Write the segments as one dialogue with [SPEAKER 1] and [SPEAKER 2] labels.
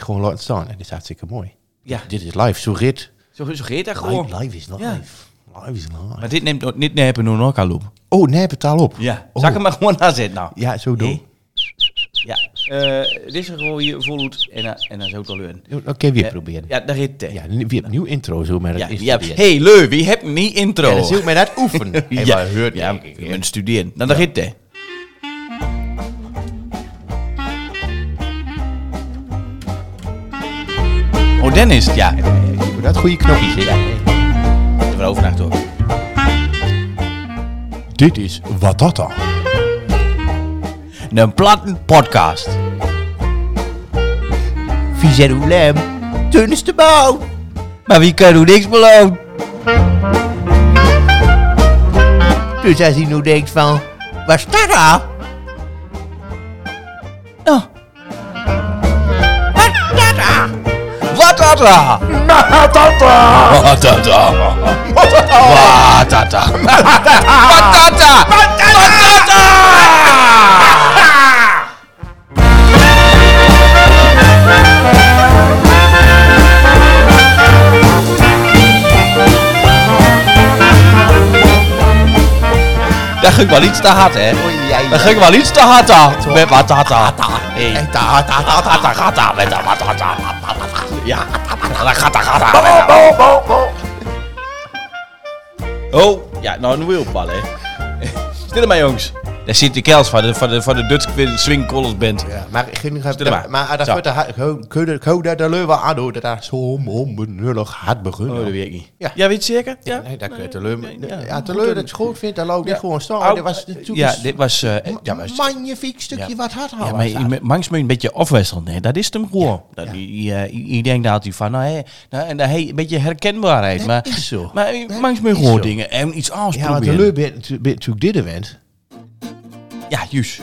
[SPEAKER 1] Gewoon laten staan. En dit is hartstikke mooi.
[SPEAKER 2] Ja.
[SPEAKER 1] Dit is live. Zo rit.
[SPEAKER 2] Zo, zo geeft dat gewoon.
[SPEAKER 1] Live, live is live.
[SPEAKER 2] Ja.
[SPEAKER 1] Live is live.
[SPEAKER 2] Maar dit neemt ook niet neppen door elkaar loop.
[SPEAKER 1] Oh, nee, betaal op.
[SPEAKER 2] Ja.
[SPEAKER 1] Oh.
[SPEAKER 2] Zak hem maar gewoon naar zitten nou.
[SPEAKER 1] Ja, zo doen.
[SPEAKER 2] Nee. Ja. Eh, dit is gewoon je volhoed en, dan- en dan zo te leuren.
[SPEAKER 1] Oké, weer
[SPEAKER 2] Eh,
[SPEAKER 1] proberen. Ja,
[SPEAKER 2] Ja, daar heet het. Ja,
[SPEAKER 1] nu- weer opnieuw intro zo, maar dat
[SPEAKER 2] ja,
[SPEAKER 1] is
[SPEAKER 2] ja.
[SPEAKER 1] het weer.
[SPEAKER 2] Hey, leu, wie hebt niet intro?
[SPEAKER 1] Ja, dan zul ik mij dat oefenen. Hey,
[SPEAKER 2] ja,
[SPEAKER 1] maar
[SPEAKER 2] hoort
[SPEAKER 1] hoort
[SPEAKER 2] ja,
[SPEAKER 1] niet.
[SPEAKER 2] je moet studeren. Dan Nou, daar heet het. Oh, Dennis, ja.
[SPEAKER 1] Ik moet Dat goede knopjes. hè?
[SPEAKER 2] Even overnacht hoor.
[SPEAKER 1] Dit is wat dat dan.
[SPEAKER 2] Een platten podcast. Vizer Oelem, tunes te bouw. Maar wie kan hoe niks beloon?
[SPEAKER 1] Dus als hij nu denkt van, waar staat dat?
[SPEAKER 2] Nou. Wat dat ah? Wat dat ah? Wat dat ah? Wat dat ah? Wat dat ah? Wat dat ah? Wat dat ah? Dat ging wel iets te hard, hè? Dat ging wel iets te hard aan. Met wat dat aan. Hey. Gata, gata, met dat wat dat aan. Ja, gata, gata, gata. met dat. Oh, ja, nou een wielbal, hè. Stil maar, jongens. Daar zit de kels van de, van de, van de Dutch Swing Collars Band.
[SPEAKER 1] Ja, maar ik ging
[SPEAKER 2] Stil maar.
[SPEAKER 1] maar. Maar dat
[SPEAKER 2] Zo.
[SPEAKER 1] wordt de koude de leuwe aan hoor, dat daar zo onbenullig hard begonnen.
[SPEAKER 2] Oh, dat weet ik niet.
[SPEAKER 1] Ja.
[SPEAKER 2] weet je zeker? Ja.
[SPEAKER 1] Nee, dat kun je teleur.
[SPEAKER 2] ja.
[SPEAKER 1] Ja, teleur dat ik schoot vindt, dan loopt dit gewoon staan.
[SPEAKER 2] Au,
[SPEAKER 1] dit was
[SPEAKER 2] eh,
[SPEAKER 1] natuurlijk
[SPEAKER 2] ja,
[SPEAKER 1] een
[SPEAKER 2] dit was... eh, ja, maar
[SPEAKER 1] magnifiek stukje
[SPEAKER 2] Ja.
[SPEAKER 1] oh, wat hard
[SPEAKER 2] Ja,
[SPEAKER 1] houden.
[SPEAKER 2] maar je moet- mangs moet je een beetje afwisselen. Nee, dat is het hem gewoon. Dat, Je, je- je denkt altijd van, nou, hé, nou, en dan, hey, een beetje herkenbaarheid. maar
[SPEAKER 1] is zo.
[SPEAKER 2] Maar je- mangs moet je
[SPEAKER 1] is
[SPEAKER 2] gewoon
[SPEAKER 1] zo.
[SPEAKER 2] dingen en iets anders
[SPEAKER 1] ja, want
[SPEAKER 2] proberen.
[SPEAKER 1] teleur bent natu- bent natuurlijk dit event.
[SPEAKER 2] Ja, juist.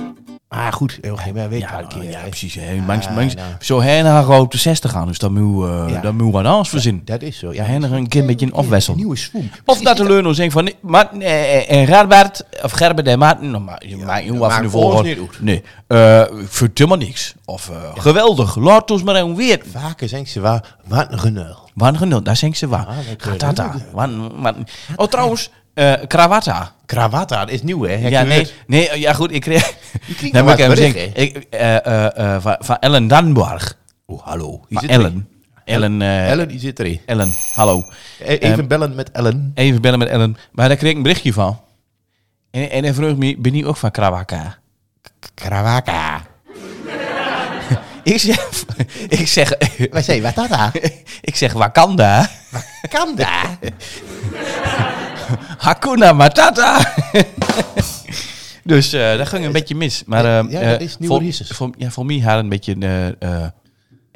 [SPEAKER 1] Maar goed, heel geen maar weet
[SPEAKER 2] Ja,
[SPEAKER 1] wel een
[SPEAKER 2] nou,
[SPEAKER 1] keer.
[SPEAKER 2] ja,
[SPEAKER 1] hè.
[SPEAKER 2] precies. hè. Mangs,
[SPEAKER 1] Ja,
[SPEAKER 2] mangs,
[SPEAKER 1] nou.
[SPEAKER 2] Zo heen haar op de 60 gaan, dus dan moet, eh
[SPEAKER 1] Ja.
[SPEAKER 2] dan moet wat anders verzinnen.
[SPEAKER 1] Dat is zo.
[SPEAKER 2] Ja, hen er een keer een beetje
[SPEAKER 1] Een
[SPEAKER 2] afwisselen.
[SPEAKER 1] nieuwe swoon.
[SPEAKER 2] Of dat de Leuno zegt van, nee, maar, eh, en Gerbert, of Gerbert en Maarten, nou, maar, je maakt heel
[SPEAKER 1] dat
[SPEAKER 2] af
[SPEAKER 1] maakt
[SPEAKER 2] de
[SPEAKER 1] voor ons
[SPEAKER 2] volgorde.
[SPEAKER 1] niet uit.
[SPEAKER 2] Nee, eh, ik vind helemaal niks. Of eh, geweldig, laat ons maar even weten.
[SPEAKER 1] Vaker zijn ze waar, wat een genul.
[SPEAKER 2] Wan genoemd, daar zijn ze
[SPEAKER 1] Ah,
[SPEAKER 2] waar.
[SPEAKER 1] dat
[SPEAKER 2] Gaat dat
[SPEAKER 1] weet
[SPEAKER 2] aan? Wan- wan- Oh, trouwens, eh Krawata.
[SPEAKER 1] Krawata, dat is nieuw hè. Heb
[SPEAKER 2] Ja,
[SPEAKER 1] je
[SPEAKER 2] nee,
[SPEAKER 1] gehoord?
[SPEAKER 2] nee, eh, ja goed, ik kreeg...
[SPEAKER 1] klinkt wel
[SPEAKER 2] Dan moet ik
[SPEAKER 1] wat
[SPEAKER 2] even
[SPEAKER 1] bericht,
[SPEAKER 2] zeggen. Ik, eh, eh, eh, van, van Ellen Danborg.
[SPEAKER 1] Oh, hallo. Wie
[SPEAKER 2] Van
[SPEAKER 1] zit erin?
[SPEAKER 2] Ellen. Ellen, eh, Ellen.
[SPEAKER 1] Ellen, die zit erin.
[SPEAKER 2] hallo.
[SPEAKER 1] E-
[SPEAKER 2] Ehm,
[SPEAKER 1] Even bellen met Ellen.
[SPEAKER 2] Even bellen met Ellen. Maar daar kreeg ik een berichtje van. En, en hij vroeg me, ben je ook van Krawaka?
[SPEAKER 1] Krawaka.
[SPEAKER 2] Ik zeg, ik zeg,
[SPEAKER 1] Wij zijn Watata.
[SPEAKER 2] ik zeg Wakanda.
[SPEAKER 1] Kanda.
[SPEAKER 2] Hakuna Matata. dus eh dat ging een beetje mis. Maar eh,
[SPEAKER 1] ja, dat
[SPEAKER 2] eh,
[SPEAKER 1] is nieuwe
[SPEAKER 2] voor,
[SPEAKER 1] releases.
[SPEAKER 2] voor, ja, voor mij haar een beetje... eh eh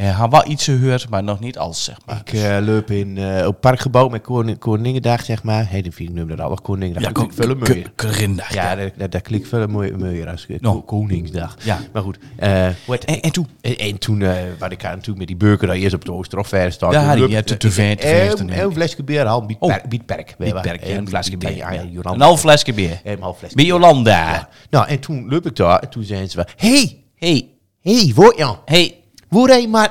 [SPEAKER 2] eh, haar wel iets gehoord, maar nog niet alles, zeg maar.
[SPEAKER 1] Ik eh loop in eh op parkgebouw met Koning, Koningendag, zeg maar. Hey, die vind ik nummer dat al. Koningendag. Ja, klinkt veel mooier.
[SPEAKER 2] Krindag. Ja.
[SPEAKER 1] Ja, dat, dat, dat klinkt veel mooier, mooier als eh,
[SPEAKER 2] Nou.
[SPEAKER 1] Ko- Koningsdag.
[SPEAKER 2] Ja.
[SPEAKER 1] Maar goed. eh, wat-
[SPEAKER 2] En, en toen?
[SPEAKER 1] en, en toen, eh wat ik aan natuurlijk met die burger daar eerst op de Oosterhof verder staan.
[SPEAKER 2] Ja, die-
[SPEAKER 1] Hup,
[SPEAKER 2] ja, te-
[SPEAKER 1] eh,
[SPEAKER 2] te ver, te
[SPEAKER 1] en-
[SPEAKER 2] ver is het
[SPEAKER 1] en
[SPEAKER 2] niet.
[SPEAKER 1] Een flesje bier al, biet
[SPEAKER 2] Oh.
[SPEAKER 1] perk. Biet perk, weet je wel.
[SPEAKER 2] Bietperk, ja,
[SPEAKER 1] En
[SPEAKER 2] een flesje bier.
[SPEAKER 1] Ja, ja, Jolanda.
[SPEAKER 2] Een half flesje bier.
[SPEAKER 1] Een half flesje
[SPEAKER 2] Bij
[SPEAKER 1] bier.
[SPEAKER 2] Jolanda.
[SPEAKER 1] Ja. Nou, en toen loop ik daar en toen zeiden ze van... hey,
[SPEAKER 2] Hey,
[SPEAKER 1] hey, hoor je?
[SPEAKER 2] hey.
[SPEAKER 1] Hoor hé, man.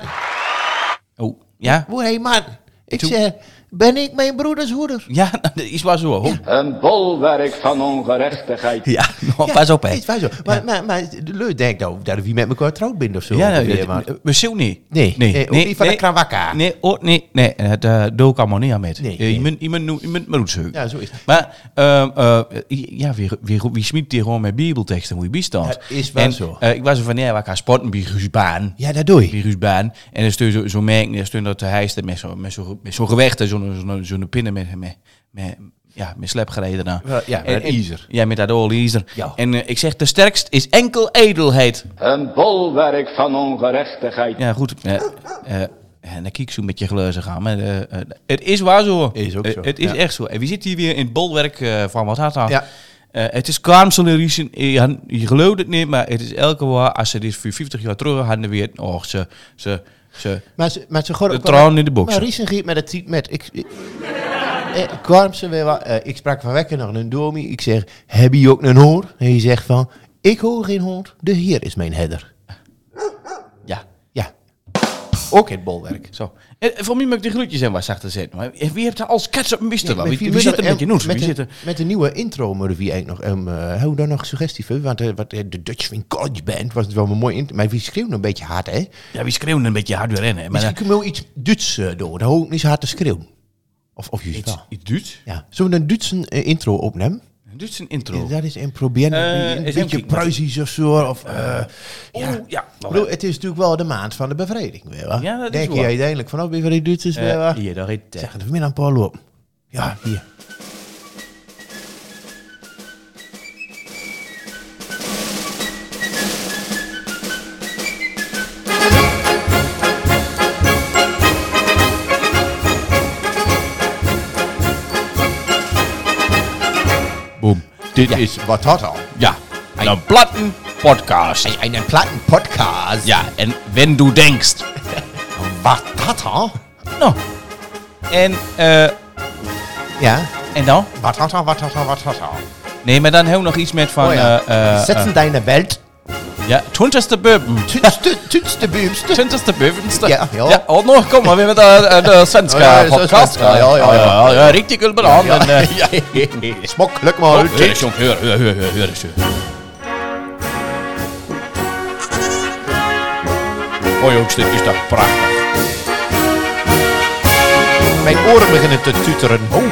[SPEAKER 2] Oh, ja?
[SPEAKER 1] Hoor hé, man. Ik zeg, ben ik mijn broeders hoeder?
[SPEAKER 2] Ja, dat is wel zo. hoor.
[SPEAKER 3] Een bolwerk van ongerechtigheid.
[SPEAKER 2] Ja, nou, pas op, hè.
[SPEAKER 1] Is waar zo. Maar, maar, maar de leu denkt nou dat wie met elkaar trouwd bent of zo.
[SPEAKER 2] Ja,
[SPEAKER 1] ongeveer,
[SPEAKER 2] nee,
[SPEAKER 1] maar.
[SPEAKER 2] dat- we zullen niet.
[SPEAKER 1] Nee, nee, ook niet van de krawakka.
[SPEAKER 2] Nee, ook niet. Nee, eh, daar doe ik allemaal niet aan met.
[SPEAKER 1] Nee,
[SPEAKER 2] Eh, Je
[SPEAKER 1] nee.
[SPEAKER 2] moet- je moet noe- je moet maar goed zeggen.
[SPEAKER 1] Ja, zo is het.
[SPEAKER 2] Maar, ehm, eh, ja, wie, wie, wie smiet hier gewoon met bibelteksten hoe je biestand?
[SPEAKER 1] Ja, is wel
[SPEAKER 2] En,
[SPEAKER 1] zo.
[SPEAKER 2] eh, ik was er van, ja, we gaan sporten bij Guusbaan.
[SPEAKER 1] ja, dat doe je.
[SPEAKER 2] Bij Guusbaan. En dan stuur zo, zo merk, dan stuur dat hij staat met zo'n met zo, met zo gewicht, en zo'n zo'n zo'n pinnen met, met, met, ja, met slepgereden. Nou.
[SPEAKER 1] Wel, ja, met ijzer.
[SPEAKER 2] Ja, met dat olie ijzer.
[SPEAKER 1] Ja.
[SPEAKER 2] En eh, ik zeg, de sterkst is enkel edelheid.
[SPEAKER 3] Een bolwerk van ongerechtigheid.
[SPEAKER 2] Ja, goed. Eh, eh, en dan kijk ik zo met je gluizen gaan. Maar, eh, eh, het is waar zo.
[SPEAKER 1] Is ook
[SPEAKER 2] Eh,
[SPEAKER 1] zo,
[SPEAKER 2] het is
[SPEAKER 1] ja.
[SPEAKER 2] echt zo. En wie zit hier weer in het bolwerk eh, van wat had dat?
[SPEAKER 1] Ja.
[SPEAKER 2] Eh, het is kwaamseleriesen. Je, Eh, je gelooft het niet, maar het is elke waar. Als ze dit voor 50 jaar terug hadden weer... Oh, ze... ze, ze
[SPEAKER 1] Maar ze, maar ze gooien
[SPEAKER 2] De
[SPEAKER 1] ook wel-
[SPEAKER 2] traan in de boxen.
[SPEAKER 1] Maar Riesen giet met het ziet met. Ik, ik, eh, kwam ze weer wat, eh, ik sprak van wekker naar een domi. Ik zeg, heb je ook een hoor? En hij zegt van, ik hoor geen hoor. De heer is mijn header.
[SPEAKER 2] ja.
[SPEAKER 1] Ja. Ook in het bolwerk.
[SPEAKER 2] Zo. En voor mij moet ik de groetjes en wat zachter zetten. Maar wie heeft daar als kets op mister?
[SPEAKER 1] Maar
[SPEAKER 2] Wie,
[SPEAKER 1] wie-
[SPEAKER 2] wie,
[SPEAKER 1] wie
[SPEAKER 2] zit er
[SPEAKER 1] dat-
[SPEAKER 2] met je noes?
[SPEAKER 1] Met,
[SPEAKER 2] Wie
[SPEAKER 1] de-
[SPEAKER 2] zit er?
[SPEAKER 1] met de nieuwe intro moeten we eigenlijk nog. ehm eh hou daar nog suggestie voor? Want eh, wat, eh, de Dutch Swing College Band was het wel een mooi intro. Maar wie schreeuwt nou een beetje hard, hè?
[SPEAKER 2] Ja, wie schreeuwen een beetje harder rennen. Maar
[SPEAKER 1] Misschien kunnen we wel iets Duits eh, door. Dan hoor ik niet zo hard te schreeuwen. Of, of juist wel.
[SPEAKER 2] iets Duits?
[SPEAKER 1] Ja. Zullen we een Duitse eh, intro opnemen?
[SPEAKER 2] Duits een intro.
[SPEAKER 1] Dat is een proberen.
[SPEAKER 2] Oh. Eh,
[SPEAKER 1] een
[SPEAKER 2] is hem
[SPEAKER 1] beetje
[SPEAKER 2] kiek, maar-
[SPEAKER 1] Pruisisch of zo. Of, eh, ja.
[SPEAKER 2] Oeh, oh, ja.
[SPEAKER 1] Ik bedoel, het is natuurlijk wel de maand van de bevrijding. Weet je wel.
[SPEAKER 2] Ja, dat is
[SPEAKER 1] Denk je
[SPEAKER 2] waar.
[SPEAKER 1] uiteindelijk van, oh, ben je van die Duitsers? weet je wel?
[SPEAKER 2] Eh, hier, daar heet het.
[SPEAKER 1] Zeg het vanmiddag een paar lopen. Ja, hier.
[SPEAKER 2] Boom.
[SPEAKER 1] Dit is wat had al.
[SPEAKER 2] Ja. Een platten podcast.
[SPEAKER 1] Een, een plattenpodcast.
[SPEAKER 2] Ja, en wenn du denkst.
[SPEAKER 1] Wat had al?
[SPEAKER 2] Nou. En, eh,
[SPEAKER 1] Ja.
[SPEAKER 2] en dan?
[SPEAKER 1] Wat had al, wat had al, wat had al.
[SPEAKER 2] Nee, maar dan hebben we nog iets met van...
[SPEAKER 1] Oh ja.
[SPEAKER 2] eh, eh,
[SPEAKER 1] Zetten deine Welt.
[SPEAKER 2] eh, ja, twintigste bubben.
[SPEAKER 1] Tutste buumste.
[SPEAKER 2] Twintigste bubbenste.
[SPEAKER 1] Ja, ja.
[SPEAKER 2] ja. Oh, nog, kom maar weer met de, eh, de Svenska
[SPEAKER 1] Ja, ja, dat is
[SPEAKER 2] podcast. Ah,
[SPEAKER 1] Svenska, ja, ja, ja.
[SPEAKER 2] ja, ja, Richtig goed beland.
[SPEAKER 1] Ja.
[SPEAKER 2] En, eh,
[SPEAKER 1] Smok, luk maar.
[SPEAKER 2] Oh, Hör, Junge, hör, hör, hör, hör, hör, hör. Oh jongens, dit is toch prachtig.
[SPEAKER 1] Mijn oren beginnen te tuteren. Oh.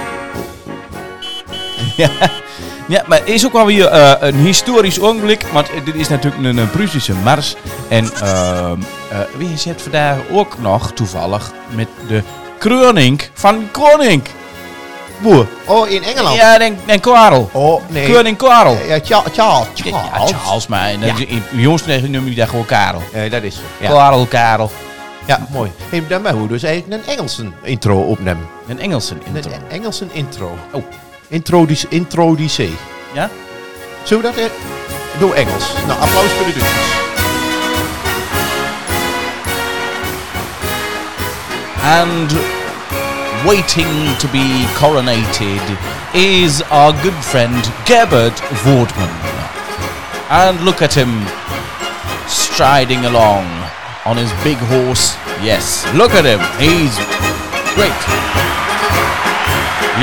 [SPEAKER 2] Ja, maar er is ook wel weer eh, een historisch ogenblik, want eh, dit is natuurlijk een, eh, Pruisische mars. En ehm eh wie zit vandaag ook nog toevallig met de kroning van koning.
[SPEAKER 1] Boer. Oh, in Engeland.
[SPEAKER 2] Ja, en, en Karel.
[SPEAKER 1] Oh, nee.
[SPEAKER 2] Koning Karel.
[SPEAKER 1] Ja, Ja, Charles. Charles.
[SPEAKER 2] Ja, Charles, maar in,
[SPEAKER 1] Ja.
[SPEAKER 2] in, in jongens noemen die daar gewoon Karel.
[SPEAKER 1] Eh, dat is zo. Ja,
[SPEAKER 2] Karel, Karel.
[SPEAKER 1] ja mooi. Hey, dan moeten we dus eigenlijk een Engelse intro opnemen.
[SPEAKER 2] Een Engelse intro.
[SPEAKER 1] Een E- Engelse intro.
[SPEAKER 2] Oh,
[SPEAKER 1] Introduce. Introduce.
[SPEAKER 2] ja?
[SPEAKER 1] Zullen we dat... eh, Doe Engels. Nou, applaus voor de Duitsers.
[SPEAKER 2] and waiting to be coronated is our good friend Gerbert Vortman. And look at him striding along on his big horse. Yes, look at him. He's great.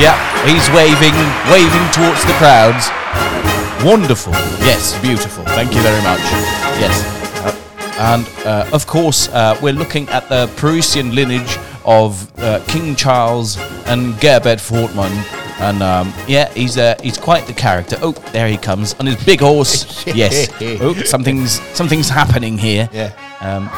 [SPEAKER 2] Yeah, he's waving, waving towards the crowds. Wonderful. Yes, beautiful. Thank you very much. Yes. And uh, of course, uh, we're looking at the Prussian lineage of uh, King Charles and Gerbert Fortman. And um, yeah, he's uh, he's quite the character. Oh, there he comes on his big horse. yes. Oh, something's something's happening here.
[SPEAKER 1] Yeah.
[SPEAKER 2] Um,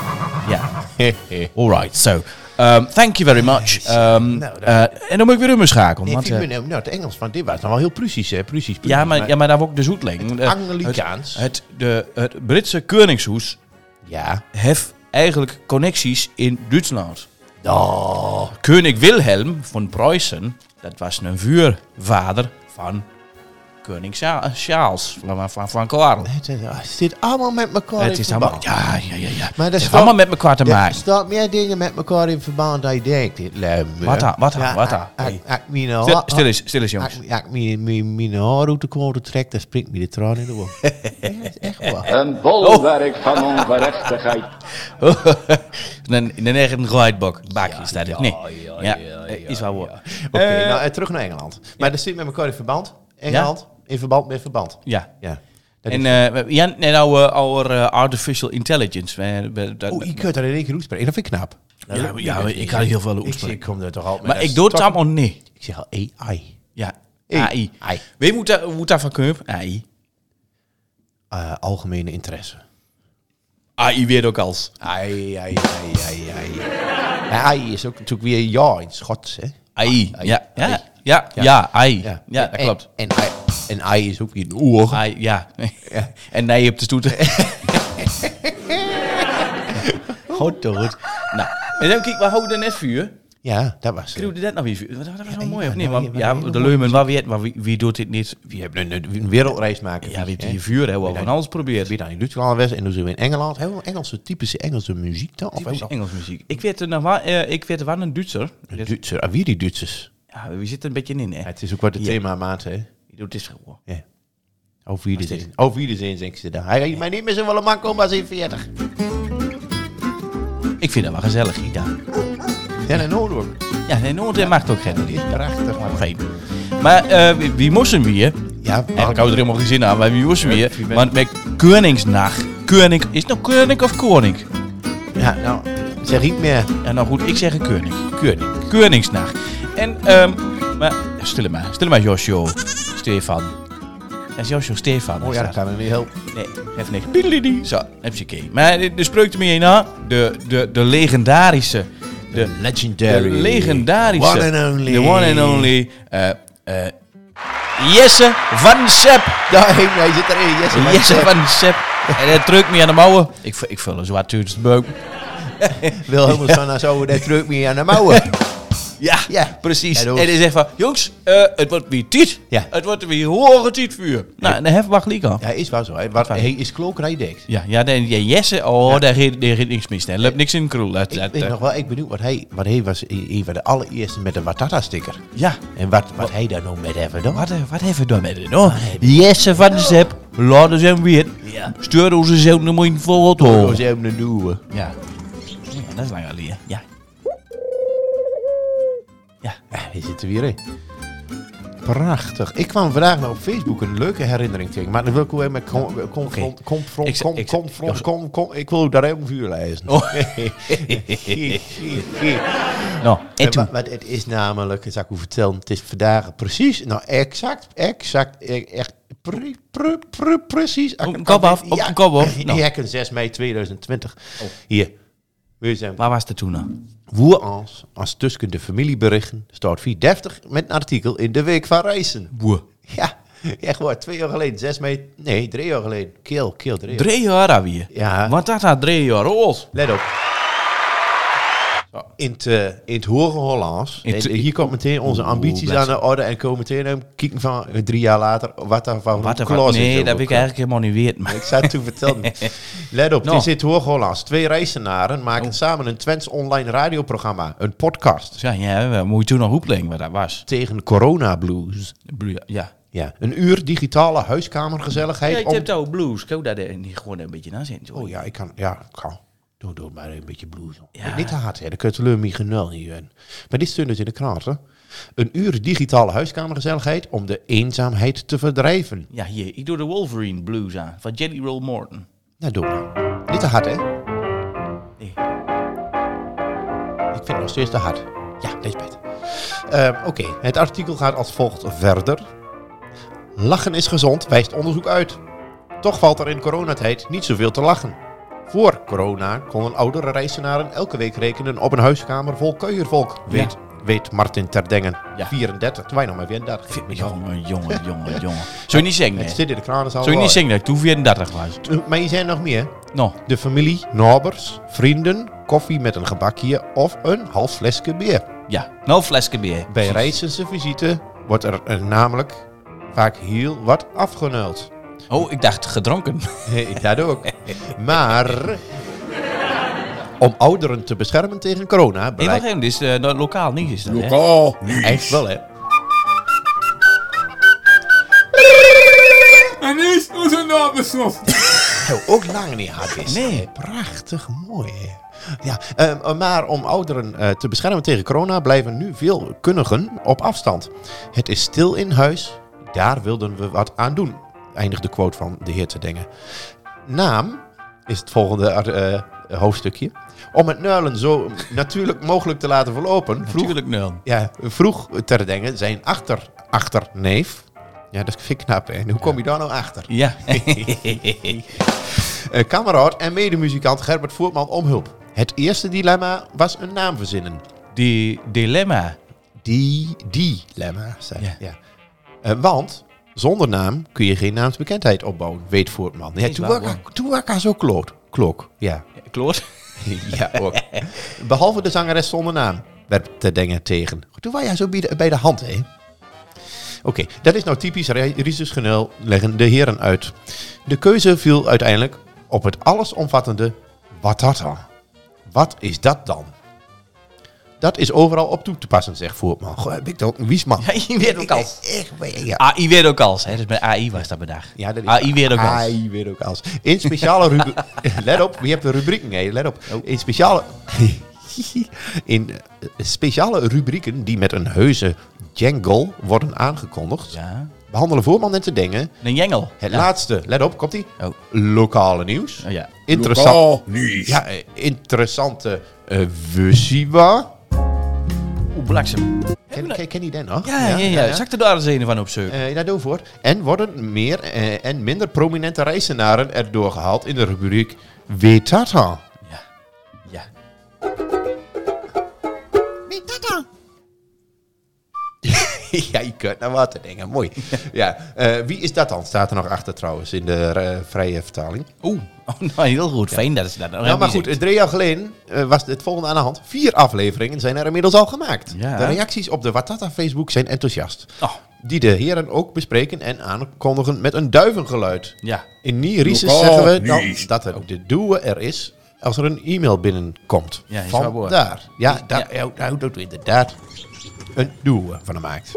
[SPEAKER 2] yeah. All right. So, um, thank you very much. Um,
[SPEAKER 1] Nou,
[SPEAKER 2] eh, en dan moet ik weer rummen schakelen.
[SPEAKER 1] Nee,
[SPEAKER 2] want,
[SPEAKER 1] vind ik
[SPEAKER 2] eh,
[SPEAKER 1] me nou, nou, het Engels van dit was dan wel heel Prussisch, hè? Prussisch, Prussisch.
[SPEAKER 2] ja, maar, ja, maar daar ook de zoetling. Eh, Het
[SPEAKER 1] Anglicaans.
[SPEAKER 2] Het, het, de, het Britse Koningshoes
[SPEAKER 1] Ja.
[SPEAKER 2] heeft eigenlijk connecties in Duitsland.
[SPEAKER 1] Oh.
[SPEAKER 2] Koning Wilhelm van Pruisen, dat was een vuurvader van koning Cha- Charles, van, van, van Karel.
[SPEAKER 1] Het is- ah, het zit allemaal met elkaar
[SPEAKER 2] Het
[SPEAKER 1] in
[SPEAKER 2] is allemaal,
[SPEAKER 1] verband.
[SPEAKER 2] ja, ja, ja, ja.
[SPEAKER 1] Maar dat
[SPEAKER 2] het
[SPEAKER 1] is
[SPEAKER 2] heeft allemaal
[SPEAKER 1] wel-
[SPEAKER 2] met elkaar te
[SPEAKER 1] Er
[SPEAKER 2] maken.
[SPEAKER 1] staan meer dingen met elkaar in verband dan je denkt. dit luim, hè.
[SPEAKER 2] Wat dan, wat dan,
[SPEAKER 1] Ja,
[SPEAKER 2] wat dan?
[SPEAKER 1] ik- ik- ik meen al-
[SPEAKER 2] Stil, stil eens, stil eens jongens.
[SPEAKER 1] Als ik- als ik mijn- mijn mijn haar uit de kolen trek, dan springt me de traan in de ogen. Ja, dat is echt waar.
[SPEAKER 3] Een bolwerk van ongerechtigheid.
[SPEAKER 2] Een een eigen rijtbak, bak is dat het, nee. Ja, eh, is wel waar.
[SPEAKER 1] Oké, nou, eh, terug naar Engeland. Maar dat zit met elkaar in verband. Engeland, in verband met verband.
[SPEAKER 2] Ja.
[SPEAKER 1] Ja. Dat
[SPEAKER 2] En
[SPEAKER 1] is-
[SPEAKER 2] eh Jan, en our, our eh, artificial intelligence. we- we- dat-
[SPEAKER 1] Oeh, je kunt dat in één keer uitspreken. Dat vind ik knap.
[SPEAKER 2] eh, Ja, maar- ja, maar ik kan heel veel
[SPEAKER 1] Ik
[SPEAKER 2] uitspreken.
[SPEAKER 1] zie- Ik kom er toch altijd met
[SPEAKER 2] maar
[SPEAKER 1] een
[SPEAKER 2] ik doe het
[SPEAKER 1] stok-
[SPEAKER 2] allemaal niet.
[SPEAKER 1] Ik zeg al AI.
[SPEAKER 2] Ja,
[SPEAKER 1] Hey.
[SPEAKER 2] AI.
[SPEAKER 1] Hey.
[SPEAKER 2] Wie moet daar moet daarvan kunnen? AI.
[SPEAKER 1] Eh, algemene interesse.
[SPEAKER 2] AI weer ook als.
[SPEAKER 1] Ai, ai, ai, ai, ai. Ja, ai is ook natuurlijk weer ja in het Schots, hè?
[SPEAKER 2] AI.
[SPEAKER 1] AI.
[SPEAKER 2] Ja,
[SPEAKER 1] AI.
[SPEAKER 2] ja, ja, ja, AI. Ja, dat
[SPEAKER 1] En-
[SPEAKER 2] klopt.
[SPEAKER 1] En, ai- en ai is ook weer een oer.
[SPEAKER 2] AI, ja. En nee op de toeter.
[SPEAKER 1] Goed, goed.
[SPEAKER 2] nou, en dan kijk, we houden net vuur.
[SPEAKER 1] Ja, dat was eh, het.
[SPEAKER 2] Doe je dat nou weer vuur? Dat was wel mooi, of
[SPEAKER 1] ja,
[SPEAKER 2] niet?
[SPEAKER 1] nou,
[SPEAKER 2] Want-
[SPEAKER 1] ja,
[SPEAKER 2] Ja,
[SPEAKER 1] maar-
[SPEAKER 2] de leumen, maar wie, maar wie, wie doet dit niet?
[SPEAKER 1] We hebben een, een wereldreis maken.
[SPEAKER 2] Ja, wie heeft
[SPEAKER 1] hè?
[SPEAKER 2] hier vuur, hè? We hebben
[SPEAKER 1] dat-
[SPEAKER 2] van alles geprobeerd.
[SPEAKER 1] Weer dan in Duitsland was en toen zijn we in Engeland. Heel veel Engelse, typische Engelse muziek dan? Of
[SPEAKER 2] Typisch
[SPEAKER 1] ook
[SPEAKER 2] Engels muziek. Ik werd er nog wel, eh, ik werd er wel een Duitser.
[SPEAKER 1] nog- Duitser. Ah, wie die Duitsers?
[SPEAKER 2] Ja, we zitten een beetje in, hè?
[SPEAKER 1] Ja, het is ook wat het
[SPEAKER 2] Ja.
[SPEAKER 1] thema maat, hè?
[SPEAKER 2] Je doet dit gewoon.
[SPEAKER 1] Ja. Over wie zijn. Over wie zijn, denk ze dan. Hij heeft mij niet meer zo willen maken, maar ze 40.
[SPEAKER 2] Ik Ik vind dat wel gezellig, gitaar.
[SPEAKER 1] Ja, in Noordhoorn.
[SPEAKER 2] Ja, nee, Noord eh, maakt ook geen
[SPEAKER 1] Die is prachtig, man.
[SPEAKER 2] geen. Maar eh, wie- wie moesten we hier?
[SPEAKER 1] Ja,
[SPEAKER 2] Eigenlijk houdt er helemaal geen zin aan, maar wie moesten we
[SPEAKER 1] Ja,
[SPEAKER 2] hier?
[SPEAKER 1] wie ben-
[SPEAKER 2] Want met Koningsnacht. Koning, is het nou Koning of Koning?
[SPEAKER 1] Ja, nou, zeg niet meer.
[SPEAKER 2] Ja, nou goed, ik zeg een Koning. Koning. Koningsnacht. En, ehm, maar, ja, stil maar, stil maar Josjo, Stefan. Dat is Josjo Stefan.
[SPEAKER 1] Oh
[SPEAKER 2] is
[SPEAKER 1] ja,
[SPEAKER 2] dat.
[SPEAKER 1] dat kan er niet helpen.
[SPEAKER 2] Nee, even niks. Pidelidi. Zo, heb je keer. Maar de, de spreuk ermee heen, hè? de, de, de legendarische, de, de
[SPEAKER 1] Legendary.
[SPEAKER 2] legendarische,
[SPEAKER 1] One and only.
[SPEAKER 2] the one and only, eh, eh, Jesse van Sepp.
[SPEAKER 1] Ja, hij zit erin. Jesse, maar
[SPEAKER 2] Jesse
[SPEAKER 1] zeg,
[SPEAKER 2] van Sepp. En hij drukt me aan de mouwen. Ik, vu- ik vul een zwaar tuurtje beuk.
[SPEAKER 1] Wilhelmus van Nassau, daar drukt me aan de mouwen.
[SPEAKER 2] Ja,
[SPEAKER 1] Ja.
[SPEAKER 2] precies.
[SPEAKER 1] Ja,
[SPEAKER 2] en
[SPEAKER 1] dat
[SPEAKER 2] hij zegt van, jongens, eh, het wordt weer tiet.
[SPEAKER 1] Ja.
[SPEAKER 2] Het wordt weer horen tietvuur. Nou, en dan hebben we gelijk al.
[SPEAKER 1] Ja, is wel zo. Hij, wat, hij is klookrijdekt.
[SPEAKER 2] Ja, ja, nee, ja, Jesse, oh, daar gaat daar gaat niks mis. hè. Er loopt niks in de kroel. Dat-
[SPEAKER 1] Ik
[SPEAKER 2] dat,
[SPEAKER 1] weet
[SPEAKER 2] eh,
[SPEAKER 1] nog wel, ik benieuwd, wat hij, wat hij was een een van de allereerste met een Watata-sticker.
[SPEAKER 2] Ja,
[SPEAKER 1] En wat, wat hij daar nou met hebben dan?
[SPEAKER 2] Wat, eh, wat hebben we dan met dit? Oh, Jesse van de Zep, laten ze hem weer.
[SPEAKER 1] Ja.
[SPEAKER 2] Stuur onze zoon een mooi voor het
[SPEAKER 1] Oh,
[SPEAKER 2] oor.
[SPEAKER 1] ze hebben een nieuwe.
[SPEAKER 2] Ja. Ja, dat is lang geleden. Ja. Ja.
[SPEAKER 1] Ja, hij zit er weer in. Prachtig. Ik kwam vandaag nog op Facebook een leuke herinnering tegen. Maar dan wil ik ook weer met confront, confront,
[SPEAKER 2] Ik
[SPEAKER 1] confront,
[SPEAKER 2] zeg- ik
[SPEAKER 1] confront,
[SPEAKER 2] zeg-
[SPEAKER 1] confront, con- con- Ik wil ook daar even vuur lezen.
[SPEAKER 2] Oh. Nou, en
[SPEAKER 1] En
[SPEAKER 2] toen.
[SPEAKER 1] wa- Want het is namelijk, dat zal ik u vertellen, het is vandaag precies, nou exact, exact, e- echt pre, pre, pre- precies.
[SPEAKER 2] Op een kop af, op een kop af. Nou. Oh.
[SPEAKER 1] Ja, ik 6 mei 2020. Hier. We zijn
[SPEAKER 2] Waar was het toen dan?
[SPEAKER 1] Woer als, als tussen de familieberichten, staat 430 met een artikel in de Week van Reizen.
[SPEAKER 2] Boe.
[SPEAKER 1] Ja, echt waar. Twee jaar geleden, 6 mei. Nee, drie jaar geleden. Keel, keel, drie jaar.
[SPEAKER 2] Drie jaar daar weer.
[SPEAKER 1] Ja.
[SPEAKER 2] Want dat had drie jaar oud.
[SPEAKER 1] Let op. In het, eh, in het hoge Hollands.
[SPEAKER 2] In
[SPEAKER 1] en
[SPEAKER 2] het-
[SPEAKER 1] hier komt meteen onze
[SPEAKER 2] Oeh,
[SPEAKER 1] ambities
[SPEAKER 2] bless.
[SPEAKER 1] aan de orde. En komen meteen hem kijken van eh, drie jaar later. Wat daar van
[SPEAKER 2] Wat
[SPEAKER 1] een
[SPEAKER 2] een
[SPEAKER 1] klas is
[SPEAKER 2] Nee,
[SPEAKER 1] er
[SPEAKER 2] dat heb
[SPEAKER 1] ook.
[SPEAKER 2] ik eigenlijk helemaal niet weet. Maar
[SPEAKER 1] Ik zou het toen vertellen. Let op,
[SPEAKER 2] Nou.
[SPEAKER 1] het is in het hoge Hollands. Twee reizenaren maken
[SPEAKER 2] Oh.
[SPEAKER 1] samen een Twents online radioprogramma. Een podcast.
[SPEAKER 2] Dus ja, ja, moet je toen nog hoepelen wat dat was.
[SPEAKER 1] Tegen corona blues.
[SPEAKER 2] Ja.
[SPEAKER 1] Ja, een uur digitale huiskamergezelligheid.
[SPEAKER 2] ik
[SPEAKER 1] om-
[SPEAKER 2] heb daar blues. Ik daar niet gewoon een beetje naar zitten.
[SPEAKER 1] Oh ja, ik kan. Ja, ik kan. Doe, doe maar een beetje blues. op.
[SPEAKER 2] Ja.
[SPEAKER 1] Niet te hard, hè. Dan kun je teleur niet genul hier. Maar dit stond dus in de krant, hè. Een uur digitale huiskamergezelligheid om de eenzaamheid te verdrijven.
[SPEAKER 2] Ja, hier. Ik doe de Wolverine blues aan. Van Jelly Roll Morton.
[SPEAKER 1] Nou, doe maar. Niet te hard, hè?
[SPEAKER 2] Nee.
[SPEAKER 1] Ik vind het nog steeds te hard. Ja, deze beter. Ehm, Oké, het artikel gaat als volgt verder. Lachen is gezond, wijst onderzoek uit. Toch valt er in coronatijd niet zoveel te lachen. Voor corona konden oudere reizenaren elke week rekenen op een huiskamer vol kuiervolk. Weet, weet Martin Terdengen.
[SPEAKER 2] Ja.
[SPEAKER 1] 34, toen wij nog nou maar 34. gingen.
[SPEAKER 2] Jongen, jongen, jongen, jongen. Zou je niet zingen,
[SPEAKER 1] Het
[SPEAKER 2] hè?
[SPEAKER 1] zit in de kranenzaal.
[SPEAKER 2] Zou je niet
[SPEAKER 1] wel.
[SPEAKER 2] zingen dat ik toen 34 was?
[SPEAKER 1] Maar je zijn nog meer.
[SPEAKER 2] Nou,
[SPEAKER 1] De familie, nabers, vrienden, koffie met een gebakje of een half flesje bier.
[SPEAKER 2] ja. Nou, flesje bier.
[SPEAKER 1] Bij reizense visite wordt er eh, namelijk vaak heel wat afgenuild.
[SPEAKER 2] Oh, ik dacht gedronken.
[SPEAKER 1] Nee, dat ook. Maar om ouderen te beschermen tegen corona
[SPEAKER 2] Nee, wacht
[SPEAKER 1] blijkt
[SPEAKER 2] even. Dit is eh, nou, lokaal niet, is dat, hè?
[SPEAKER 1] Lokaal. Echt wel, hè?
[SPEAKER 4] En nu is onze naam besloten.
[SPEAKER 1] Zo, ook lang niet hard is.
[SPEAKER 2] Nee.
[SPEAKER 1] Prachtig mooi, hè? Ja, eh, maar om ouderen eh, te beschermen tegen corona blijven nu veel kundigen op afstand. Het is stil in huis, daar wilden we wat aan doen, eindigt de quote van de heer Tedengen. Naam is het volgende eh, hoofdstukje. Om het nuilen zo natuurlijk mogelijk te laten verlopen, vroeg
[SPEAKER 2] Natuurlijk nul.
[SPEAKER 1] ja, vroeg ter denken zijn achter, achterneef. Ja, dat vind ik knap, hè? En hoe kom je daar nou achter?
[SPEAKER 2] Ja.
[SPEAKER 1] Eh kameraad en medemuzikant Gerbert Voortman om hulp. Het eerste dilemma was een naam verzinnen.
[SPEAKER 2] Die dilemma.
[SPEAKER 1] Die, dilemma, zei
[SPEAKER 2] Ja.
[SPEAKER 1] ja. Eh, want zonder naam kun je geen naamsbekendheid opbouwen, weet Voortman. Ja,
[SPEAKER 2] Is
[SPEAKER 1] toen
[SPEAKER 2] waar,
[SPEAKER 1] wak- toen wak haar zo kloot. Klok, ja.
[SPEAKER 2] Kloot.
[SPEAKER 1] ja, ook. Behalve de zangeres zonder naam, werd te denken tegen. Toen was jij zo bij de, bij de hand, hè? Oké, dat is nou typisch re- Riesesgenul leggen de heren uit. De keuze viel uiteindelijk op het allesomvattende wat dat dan? Wat is dat dan? dat is overal op toe te passen, zegt Voertman. Goh, heb ik dat ook een wiesman?
[SPEAKER 2] Ja, je weet ook als.
[SPEAKER 1] Ik weet- ja.
[SPEAKER 2] AI weer ook als. Hè? Dus bij AI was dat bedacht.
[SPEAKER 1] Ja, dat is
[SPEAKER 2] AI weer ook als.
[SPEAKER 1] AI weer ook als. In speciale rubriek. let op, je hebt de rubrieken. Hé, let op.
[SPEAKER 2] Oh.
[SPEAKER 1] In speciale. In eh, speciale rubrieken die met een heuse jangle worden aangekondigd,
[SPEAKER 2] Ja.
[SPEAKER 1] behandelen voorman en te dingen.
[SPEAKER 2] Een jengel.
[SPEAKER 1] Het
[SPEAKER 2] ja.
[SPEAKER 1] laatste, let op, komt ie.
[SPEAKER 2] Oh.
[SPEAKER 1] Lokale nieuws.
[SPEAKER 2] Oh, ja.
[SPEAKER 1] Interessant.
[SPEAKER 4] nieuws.
[SPEAKER 1] Ja, eh, interessante eh wussiwa.
[SPEAKER 2] Oeh, bliksem.
[SPEAKER 1] Ken, ken, ken je die nog?
[SPEAKER 2] Ja, ja, ja. Zak er daar eens een van op zoek.
[SPEAKER 1] Eh, ja, doe voor. En worden meer eh, en minder prominente reizenaren erdoor gehaald in de rubriek Weet dat dan?
[SPEAKER 2] Ja. Ja.
[SPEAKER 1] ja, je kunt naar wat dingen. Mooi. ja. eh, wie is dat dan? Staat er nog achter trouwens in de eh, vrije vertaling.
[SPEAKER 2] Oeh. Oh, nou, heel goed. Fijn dat ze dat nog
[SPEAKER 1] nou,
[SPEAKER 2] hebben
[SPEAKER 1] maar goed.
[SPEAKER 2] gezien.
[SPEAKER 1] eh, Drie jaar geleden eh, was het volgende aan de hand. Vier afleveringen zijn er inmiddels al gemaakt.
[SPEAKER 2] Ja.
[SPEAKER 1] De reacties op de Watata Facebook zijn enthousiast.
[SPEAKER 2] Oh,
[SPEAKER 1] Die de heren ook bespreken en aankondigen met een duivengeluid.
[SPEAKER 2] ja.
[SPEAKER 1] In die research
[SPEAKER 4] Lokaal
[SPEAKER 1] zeggen we dan
[SPEAKER 4] nieuws.
[SPEAKER 1] dat het de duwe er is als er een e-mail binnenkomt.
[SPEAKER 2] Ja, is waar
[SPEAKER 1] van
[SPEAKER 2] woord.
[SPEAKER 1] daar. Ja, daar,
[SPEAKER 2] Ja.
[SPEAKER 1] ja. daar doet inderdaad een duwe van gemaakt.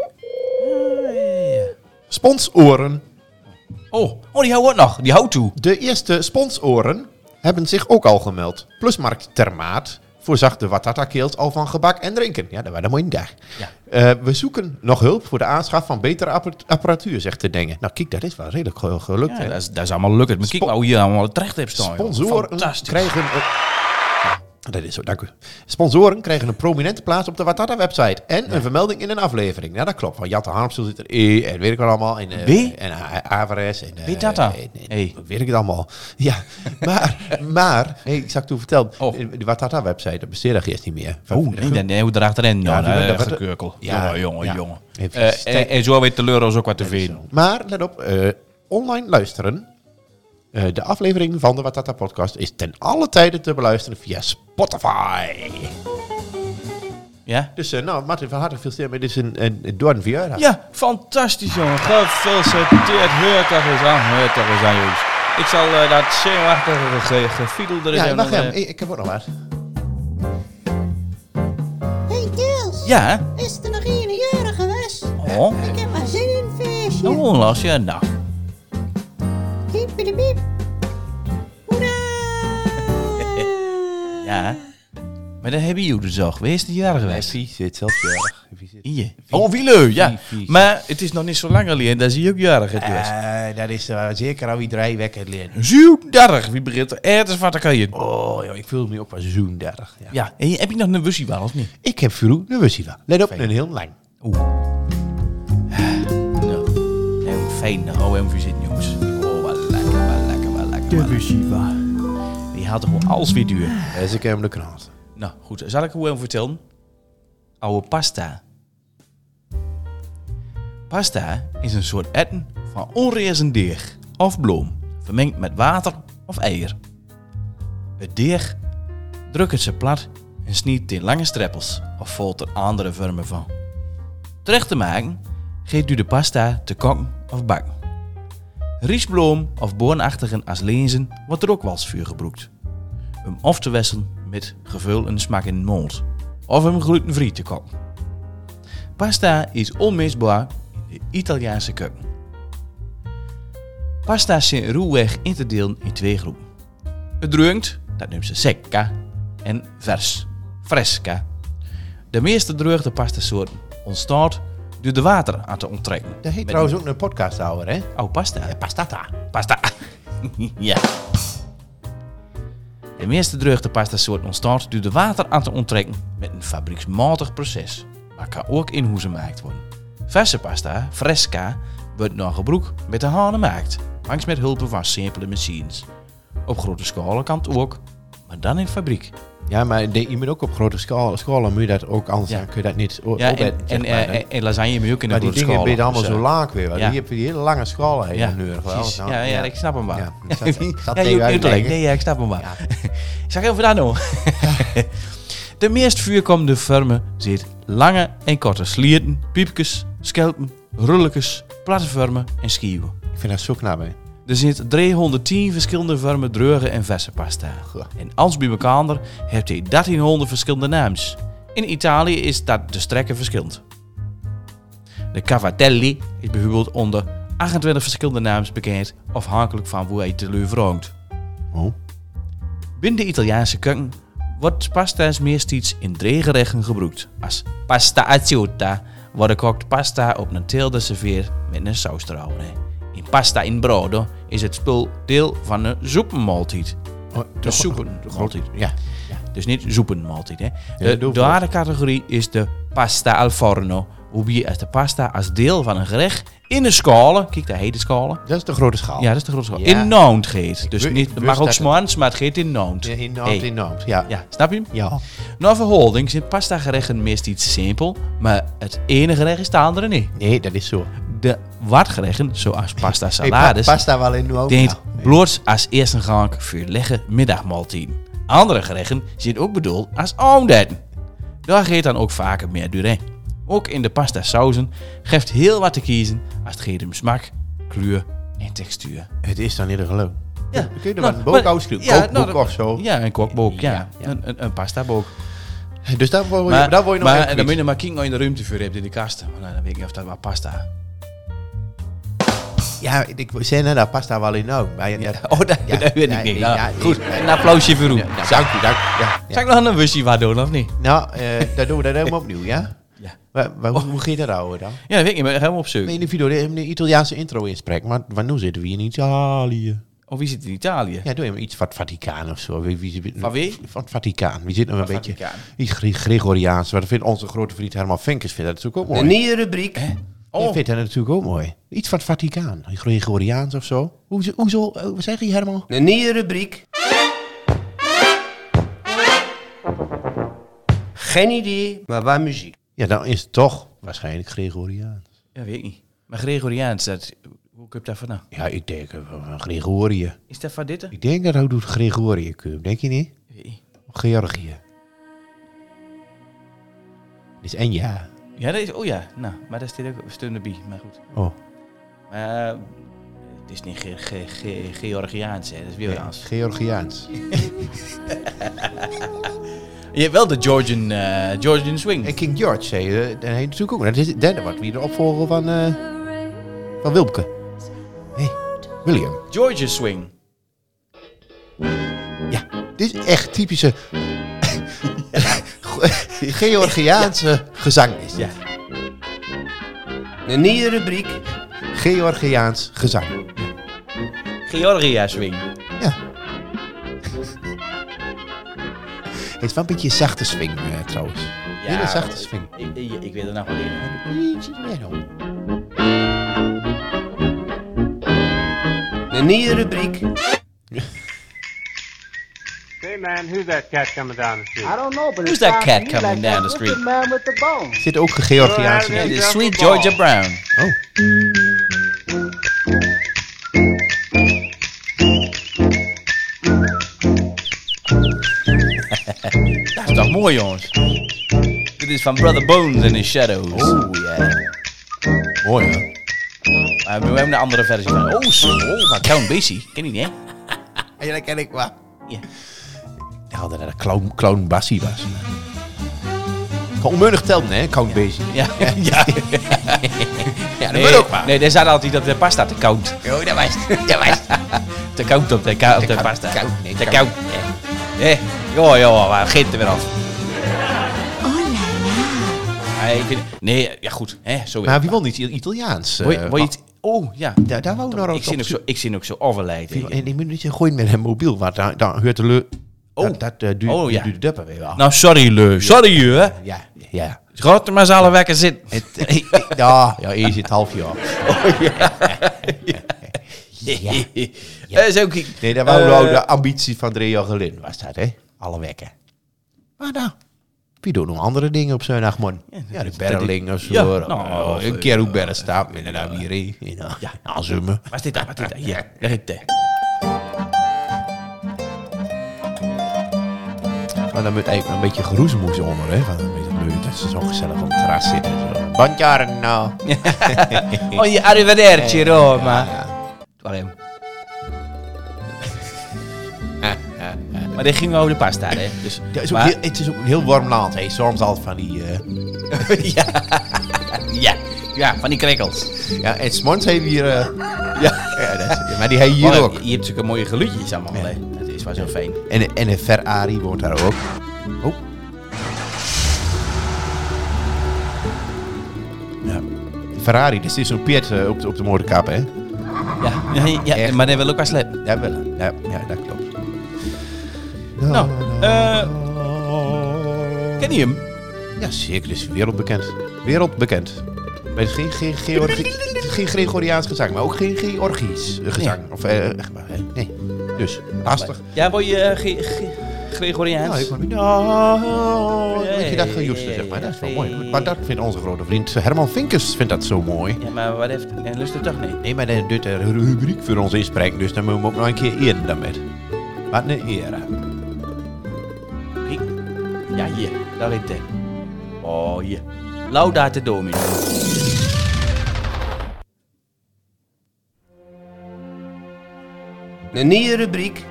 [SPEAKER 1] Sponsoren.
[SPEAKER 2] Oh, oh die houdt ook nog. Die houdt toe.
[SPEAKER 1] De eerste sponsoren hebben zich ook al gemeld. Plusmarkt Termaat voorzag de watatakeelt al van gebak en drinken. Ja, dat was een mooie dag.
[SPEAKER 2] Ja.
[SPEAKER 1] Eh, we zoeken nog hulp voor de aanschaf van betere appar- apparatuur, zegt de Dengen. Nou, kijk, dat is wel redelijk ge- gelukt.
[SPEAKER 2] Ja,
[SPEAKER 1] hè?
[SPEAKER 2] dat, is, dat is allemaal lukken. Maar kijk maar hoe je allemaal terecht hebt staan. Oh, joh.
[SPEAKER 1] Sponsoren
[SPEAKER 2] Fantastisch.
[SPEAKER 1] krijgen een... Dat is zo, dank u. Sponsoren krijgen een prominente plaats op de Watata-website. En een vermelding in een aflevering. Ja, dat klopt. Van Jatte Harmsel zit er. E, en weet ik wat allemaal. En, eh,
[SPEAKER 2] Wie?
[SPEAKER 1] En A- Avares. En, eh,
[SPEAKER 2] Wie dat dan?
[SPEAKER 1] en- en-
[SPEAKER 2] Hey.
[SPEAKER 1] Weet ik het allemaal. Ja, maar... maar hey, ik zag toen verteld.
[SPEAKER 2] Oh.
[SPEAKER 1] De Watata-website, dat besteed er eerst niet meer.
[SPEAKER 2] Oeh, nee, nee, nee, hoe erachterheen. Ja,
[SPEAKER 1] Ja, die-
[SPEAKER 2] ja,
[SPEAKER 1] dat-
[SPEAKER 2] echt
[SPEAKER 1] dat-
[SPEAKER 2] een kurkel.
[SPEAKER 1] ja,
[SPEAKER 2] eh, Jongen, jongen,
[SPEAKER 1] ja.
[SPEAKER 2] jongen.
[SPEAKER 1] Even
[SPEAKER 2] Eh,
[SPEAKER 1] stek-
[SPEAKER 2] en, en zo weet de Leuro's ook wat te vinden.
[SPEAKER 1] Maar let op, eh, online luisteren. Eh, de aflevering van de Watata Podcast is ten alle tijden te beluisteren via Spotify.
[SPEAKER 2] Ja?
[SPEAKER 1] Dus eh, nou, Martin van harte veel sterker met dit is een, een, een Doorn Vieira.
[SPEAKER 2] Ja, fantastisch jongen. Gefeliciteerd. Heurt dat eens aan. Heurt dat eens aan jongens. Ik zal eh, dat zenuwachtige ge- gefiedel er eens
[SPEAKER 1] ja
[SPEAKER 2] even
[SPEAKER 1] wacht
[SPEAKER 2] nog,
[SPEAKER 1] even.
[SPEAKER 2] eh,
[SPEAKER 1] Ik, ik heb ook nog wat.
[SPEAKER 5] Hey Tils,
[SPEAKER 2] Ja?
[SPEAKER 5] is er nog een jaren geweest?
[SPEAKER 2] Oh,
[SPEAKER 5] Ik heb maar zin in een feestje.
[SPEAKER 2] oh Lars, ja nou.
[SPEAKER 5] Piep, piep, piep. Hoera!
[SPEAKER 2] Ja. Maar dat hebben jullie dus al geweest, die jaren geweest.
[SPEAKER 1] Wie zit zelf jarig?
[SPEAKER 2] Hier. Oh, wie leuk, ja. Maar het is nog niet zo lang alleen, dat zie je ook jarig het was.
[SPEAKER 1] dat is eh, zeker al wie drie weken leren.
[SPEAKER 2] Zoenderg, wie begint er ergens wat te kan je.
[SPEAKER 1] Oh, joh, ik voel me ook wel zo'n 30. Ja.
[SPEAKER 2] Ja, en heb je nog een wussie wel of niet?
[SPEAKER 1] Ik heb vroeg, nu wist je dat. Let op, een heel lang.
[SPEAKER 2] Oeh. Nou, heel fijn. Nou, hou even zitten, jongens. Oh, wat lekker, wat lekker, wat lekker. De Bushiva. Die had gewoon alles weer duur.
[SPEAKER 1] Dus ik heb hem de krant.
[SPEAKER 2] Nou, goed. Zal ik hoe even vertellen? Oude pasta. Pasta is een soort etten van onrezen deeg of bloem, vermengd met water of eier. Het deeg drukken ze plat en snijdt in lange streppels of valt er andere vormen van. Terecht te maken geeft u de pasta te koken of bakken. Riesbloem of boornachtigen als lenzen wordt er ook wel eens vuur gebruikt hem af te wisselen met gevul en smaak in de mond. Of hem glutenvrij te koken. Pasta is onmisbaar in de Italiaanse keuken. Pasta zijn ruwweg in te delen in twee groepen. Het dreugt, dat noemt ze secca, en vers, fresca. De meeste dreugde pastasoorten ontstaat door de water aan te onttrekken.
[SPEAKER 1] Dat heet
[SPEAKER 2] Met
[SPEAKER 1] trouwens ook een podcasthouder, hè?
[SPEAKER 2] Oh, pasta.
[SPEAKER 1] Pastata.
[SPEAKER 2] Pasta. ja. De meeste droogte pastasoort ontstaat door de water aan te onttrekken met een fabrieksmatig proces, maar kan ook in hoezen gemaakt worden. Verse pasta, fresca, wordt nog gebruikt met de handen gemaakt, langs met hulp van simpele machines. Op grote schaal kan het ook, maar dan in fabriek.
[SPEAKER 1] Ja, maar de- je moet ook op grote schaal, schaal moet je dat ook, anders
[SPEAKER 2] Ja.
[SPEAKER 1] dan kun je dat niet o-
[SPEAKER 2] Ja, en,
[SPEAKER 1] opeten, zeg
[SPEAKER 2] en,
[SPEAKER 1] maar,
[SPEAKER 2] eh,
[SPEAKER 1] hè.
[SPEAKER 2] en lasagne moet je ook in de
[SPEAKER 1] maar die
[SPEAKER 2] grote
[SPEAKER 1] dingen
[SPEAKER 2] schaal.
[SPEAKER 1] ben je allemaal
[SPEAKER 2] dus,
[SPEAKER 1] zo
[SPEAKER 2] eh,
[SPEAKER 1] laag weer. want
[SPEAKER 2] ja.
[SPEAKER 1] Die heb je die hele lange schalen heen.
[SPEAKER 2] Ja,
[SPEAKER 1] Ja, nodig, wel.
[SPEAKER 2] precies.
[SPEAKER 1] Nou,
[SPEAKER 2] ja, ja, ik snap hem wel.
[SPEAKER 1] Ja,
[SPEAKER 2] Ja,
[SPEAKER 1] ik zat- ik zat
[SPEAKER 2] ja,
[SPEAKER 1] tegen
[SPEAKER 2] je
[SPEAKER 1] u uit te
[SPEAKER 2] kunt
[SPEAKER 1] leggen.
[SPEAKER 2] Nee, ja, ik snap hem wel. Ik zag even daar nog. De meest voorkomende vormen zit lange en korte slierten, piepjes, schelpen, rulletjes, platformen en schieven.
[SPEAKER 1] Ik vind dat zo knap, hè.
[SPEAKER 2] Er zit 310 verschillende vormen droge en verse pasta.
[SPEAKER 1] Goh.
[SPEAKER 2] En als bij elkaar hebt hij 1300 verschillende naams. In Italië is dat de strekken verschillend. De Cavatelli is bijvoorbeeld onder 28 verschillende naams bekend, afhankelijk van hoe hij te woont.
[SPEAKER 1] Oh.
[SPEAKER 2] Binnen de Italiaanse keuken wordt pasta's meestal in drie gerechten gebruikt. Als pasta asciutta wordt gekookt pasta op een teelde serveer met een saus erover. In pasta in brodo is het spul deel van een soepenmaaltijd.
[SPEAKER 1] Oh,
[SPEAKER 2] De soepenmaaltijd.
[SPEAKER 1] Ja.
[SPEAKER 2] Dus niet soepenmaaltijd. Hè. De
[SPEAKER 1] doe
[SPEAKER 2] derde categorie is de pasta al forno. Waarbij als de pasta als deel van een gerecht in een schalen, kijk daar heet de schalen.
[SPEAKER 1] Dat is de grote schaal.
[SPEAKER 2] Ja, dat is de grote schaal.
[SPEAKER 1] Ja.
[SPEAKER 2] In noond geet. Dus
[SPEAKER 1] wist-
[SPEAKER 2] niet, het
[SPEAKER 1] wist
[SPEAKER 2] mag ook
[SPEAKER 1] dat-
[SPEAKER 2] s'morgens, maar het geet in noond.
[SPEAKER 1] Ja, In
[SPEAKER 2] Hey.
[SPEAKER 1] Noord, in Noord. Ja.
[SPEAKER 2] Ja, snap je hem?
[SPEAKER 1] Ja.
[SPEAKER 2] Nou, voor holding zijn pasta gerechten meestal iets simpel, maar het ene gerecht is de andere niet.
[SPEAKER 1] Nee, dat is zo.
[SPEAKER 2] De watgerechten, zoals pasta
[SPEAKER 1] Hey, pa-
[SPEAKER 2] salades,
[SPEAKER 1] pasta wel in Noord.
[SPEAKER 2] deed
[SPEAKER 1] Ja.
[SPEAKER 2] bloots als eerste gang voor leggen middagmaaltijd. Andere gerechten zijn ook bedoeld als oomdetten. Daar geeft dan ook vaker meer durée. Ook in de pasta sauzen geeft heel wat te kiezen als het geeft om smaak, kleur en textuur.
[SPEAKER 1] Het is dan ieder geloof.
[SPEAKER 2] Ja.
[SPEAKER 1] Kun je er
[SPEAKER 2] Nou,
[SPEAKER 1] wel een
[SPEAKER 2] maar-
[SPEAKER 1] boek uitsturen?
[SPEAKER 2] ja,
[SPEAKER 1] Kookboek
[SPEAKER 2] nou, dat-
[SPEAKER 1] of zo.
[SPEAKER 2] Ja, een kokboek, ja.
[SPEAKER 1] Ja, ja.
[SPEAKER 2] Een, een, een pastaboek.
[SPEAKER 1] Dus daar word je,
[SPEAKER 2] Maar,
[SPEAKER 1] daar word je nog
[SPEAKER 2] maar
[SPEAKER 1] heel
[SPEAKER 2] dan moet
[SPEAKER 1] kritisch.
[SPEAKER 2] je maar kijken wat je in de ruimte voor hebt in de kast. Maar nou, dan weet ik niet of dat wat pasta.
[SPEAKER 1] Ja, ik zei net, dat pasta wel in Noord. Maar ja, dat-
[SPEAKER 2] Oh, dat,
[SPEAKER 1] Ja,
[SPEAKER 2] dat weet
[SPEAKER 1] ja,
[SPEAKER 2] ik niet.
[SPEAKER 1] ja,
[SPEAKER 2] Nou,
[SPEAKER 1] ja,
[SPEAKER 2] goed,
[SPEAKER 1] ja.
[SPEAKER 2] een applausje voor Roem.
[SPEAKER 1] Ja, dank u, dank u. Ja, ja.
[SPEAKER 2] Zal ik nog een wussie wat doen, of niet?
[SPEAKER 1] Nou, eh dan doen we dat helemaal opnieuw, ja?
[SPEAKER 2] Ja. Oh.
[SPEAKER 1] Maar, maar hoe, hoe ging dat houden dan?
[SPEAKER 2] Ja, dat weet ik niet, maar helemaal op
[SPEAKER 1] We
[SPEAKER 2] zoek.
[SPEAKER 1] in de video een Italiaanse intro inspreken, maar, maar nu zitten we in Italië.
[SPEAKER 2] Of wie zit in Italië?
[SPEAKER 1] Ja, doe hem iets van het Vaticaan of zo. Wie- wie- wie-
[SPEAKER 2] Van wie?
[SPEAKER 1] Van het Vaticaan. Wie zit nou een
[SPEAKER 2] Van
[SPEAKER 1] beetje...
[SPEAKER 2] Vaticaan.
[SPEAKER 1] Iets Gre- Gregoriaans. Maar dat vindt onze grote vriend Herman Vinkers vindt dat natuurlijk ook mooi.
[SPEAKER 6] Een nieuwe rubriek.
[SPEAKER 2] Oh.
[SPEAKER 1] Die vindt dat natuurlijk ook mooi. Iets van het Vaticaan. Gregoriaans of zo. Hoezo? hoezo eh, wat zeg je Herman?
[SPEAKER 6] Een nieuwe rubriek. Geen idee, maar waar muziek.
[SPEAKER 1] Ja, dan is het toch waarschijnlijk Gregoriaans.
[SPEAKER 2] Ja, weet ik niet. Maar Gregoriaans, dat, hoe heb dat van nou?
[SPEAKER 1] Ja, ik denk eh, van van Gregorië.
[SPEAKER 2] Is dat van dit? hè?
[SPEAKER 1] Ik denk dat ook doet Gregorië, Kuub. Denk je niet?
[SPEAKER 2] Weet ik niet.
[SPEAKER 1] Of Georgië. Dit is en ja.
[SPEAKER 2] Ja, dat is, oh ja, nou, maar daar staat ook een steun erbij, maar goed.
[SPEAKER 1] Oh.
[SPEAKER 2] Maar eh, het is niet ge, ge, ge- Georgiaans, hè, dat is weer anders.
[SPEAKER 1] Georgiaans.
[SPEAKER 2] Je hebt wel de Georgian, eh, Georgian Swing.
[SPEAKER 1] En King George zei je, dat heet natuurlijk ook. Dat is het derde wat wie de opvolger van, eh, van Wilbeke. Nee, William.
[SPEAKER 2] Georgian Swing.
[SPEAKER 1] Ja, dit is echt typische Georgiaanse gezang. Is dit.
[SPEAKER 2] Ja.
[SPEAKER 6] Een nieuwe rubriek.
[SPEAKER 1] Georgiaans gezang.
[SPEAKER 2] Georgia Swing.
[SPEAKER 1] Ja. Het is wel een beetje een zachte swing eh, trouwens. Ja, Hele zachte swing.
[SPEAKER 2] Ik, ik, ik weet er nog wel in.
[SPEAKER 6] Een nieuwe rubriek.
[SPEAKER 7] Say, man, who's that cat coming down the street? I don't
[SPEAKER 2] Who's that cat coming down the street?
[SPEAKER 1] Er zit ook Georgiaanse
[SPEAKER 7] Ja,
[SPEAKER 1] in.
[SPEAKER 7] ja.
[SPEAKER 2] It is Sweet Georgia Brown.
[SPEAKER 1] Oh.
[SPEAKER 2] Dat is toch mooi, jongens? Dit is van Brother Bones and His Shadows.
[SPEAKER 1] Oh ja. Mooi hè?
[SPEAKER 2] Maar we hebben een andere versie van. Oh, zo. Oh, van Count Basie. Ken je die, hè?
[SPEAKER 1] Ja, dat ken ik wel.
[SPEAKER 2] Ja.
[SPEAKER 1] Ik dacht Ah, dat het een clown, clown Bassie was. Kan onmunnig tellen hè, clown Bassie.
[SPEAKER 2] Ja. ja.
[SPEAKER 1] dat
[SPEAKER 2] nee,
[SPEAKER 1] moet ook maar.
[SPEAKER 2] Nee, daar staat altijd dat de pasta te koud.
[SPEAKER 1] Oh, dat was het. Dat was het.
[SPEAKER 2] Te koud op de, ka- op de pasta.
[SPEAKER 1] koud, nee,
[SPEAKER 2] te
[SPEAKER 1] koud.
[SPEAKER 2] koud. Hé, joh, joh, maar geet er weer af. Ah, ik vind, nee, ja goed. Hè, zo weer.
[SPEAKER 1] Maar wie won niet? Italiaans. eh,
[SPEAKER 2] Word je- word je
[SPEAKER 1] wat-
[SPEAKER 2] iets- Oh, ja.
[SPEAKER 1] daar, daar wou ik nog
[SPEAKER 2] Ik zie ook
[SPEAKER 1] zo.
[SPEAKER 2] zo, ik zie ook zo overlijden.
[SPEAKER 1] En ik moet niet gooien met een mobiel, want dan, dan hoort de leu...
[SPEAKER 2] Oh.
[SPEAKER 1] Dat, dat eh, duurt,
[SPEAKER 2] Oh, ja.
[SPEAKER 1] duurt de duppen weer wel.
[SPEAKER 2] Nou, sorry, Leu. Sorry, hè.
[SPEAKER 1] Ja, ja.
[SPEAKER 2] Gaat er maar z'n allen wekker zitten.
[SPEAKER 1] Het, ja, ja, hier zit half jaar.
[SPEAKER 2] Ja. Dat is ook...
[SPEAKER 1] Nee, dat wou nou de ambitie van drie jaar geleden, was dat, hè? Alle wekken. Maar nou, wie doet nog andere dingen op zondagmorgen? Ja, de berling of zo.
[SPEAKER 2] Ja,
[SPEAKER 1] eh,
[SPEAKER 2] nou,
[SPEAKER 1] een keer hoe berren staat, en dan weer een. Ja, ja. aanzoomen.
[SPEAKER 2] Waar is dit dan? Waar is dit dan? Hier, daar is het.
[SPEAKER 1] Maar dan moet eigenlijk een beetje geroezemoes onder, hè? Van een beetje leuk dat ze zo gezellig op het terras zitten. en Zo. Buongiorno. nou.
[SPEAKER 2] Oh, je arrivederci, Roma. Waarom? Maar dit ging over de pasta, hè. Dus,
[SPEAKER 1] Ja, is ook
[SPEAKER 2] maar-
[SPEAKER 1] heel- het is ook een heel warm land. Hij soms altijd van die... eh,
[SPEAKER 2] ja. ja. Ja, van die krekkels.
[SPEAKER 1] ja, en s'morgens hebben we hier... eh,
[SPEAKER 2] Ja.
[SPEAKER 1] ja, dat is- maar die hebben hier
[SPEAKER 2] Oh,
[SPEAKER 1] ook.
[SPEAKER 2] Je, je hebt zulke mooie geluidjes allemaal. hè. Het is wel zo fijn.
[SPEAKER 1] En, en een Ferrari woont daar ook. Oh. Ja. Ferrari, dat is zo'n Piet eh, op, de- op de motorkap, hè?
[SPEAKER 2] Ja, ja, ja,
[SPEAKER 1] Echt.
[SPEAKER 2] maar dat wil ook wel slep.
[SPEAKER 1] Ja, wel. Ja, ja dat klopt.
[SPEAKER 2] Nou, eh ken je hem?
[SPEAKER 1] Ja, zeker. is wereldbekend. Wereldbekend. Maar het is geen, geen, Georgi- het is geen Gregoriaans gezang, maar ook geen Georgisch eh, gezang. Of, eh, echt waar, hè? nee. Dus, lastig.
[SPEAKER 2] Ja, word je eh, Ge- Ge- Gregoriaans?
[SPEAKER 1] Nou, ik word niet... Nou, weet je dat gejoester,
[SPEAKER 2] ja,
[SPEAKER 1] zeg maar. Dat is wel
[SPEAKER 2] ja,
[SPEAKER 1] mooi.
[SPEAKER 2] ja.
[SPEAKER 1] Maar dat vindt onze grote vriend Herman Vinkers vindt dat zo mooi.
[SPEAKER 2] Ja, maar wat heeft... En lust het toch niet?
[SPEAKER 1] Nee, maar dat doet een rubriek voor ons inspreken, dus dan moeten we hem ook nog een keer eren daarmee. Wat een
[SPEAKER 2] Oh,
[SPEAKER 1] eer.
[SPEAKER 2] Kijk. Ja, hier. Daar ligt hij. Oh, hier. Laudate Domino.
[SPEAKER 6] Een nieuwe rubriek.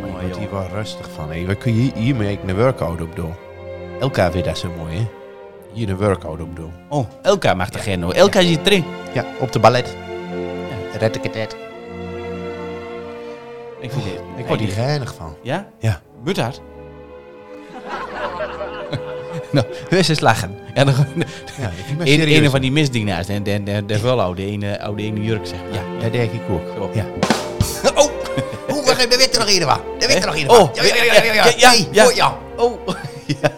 [SPEAKER 2] Mooi,
[SPEAKER 1] Wordt hier
[SPEAKER 2] joh.
[SPEAKER 1] wel rustig van, hé. Wat kun je hier- hiermee een workout op doen? Elkaar vindt dat zo mooi, hè? Hier een workout op doen.
[SPEAKER 2] Oh, Elka mag er geen doen. Elka zit erin.
[SPEAKER 1] Ja, op de ballet. Red ik het net.
[SPEAKER 2] Ik vind het...
[SPEAKER 1] Ik word hier geinig van.
[SPEAKER 2] Oh, Ja?
[SPEAKER 1] Ja.
[SPEAKER 2] Moet dat? nou, wees eens lachen. Ja, dan,
[SPEAKER 1] Ja, ik ben
[SPEAKER 2] een,
[SPEAKER 1] serieus.
[SPEAKER 2] een van die misdienaars. De, de, de, de vuiloude ene, oude ene jurk, zeg maar.
[SPEAKER 1] Ja, dat denk ik ook.
[SPEAKER 2] Klopt.
[SPEAKER 1] Ja.
[SPEAKER 2] Oh!
[SPEAKER 1] Oeh, wacht even, daar weet er nog één van. Daar weet er nog één van.
[SPEAKER 2] Oh! Ja, ja, ja, ja, ja, ja, ja. Oh! Ja.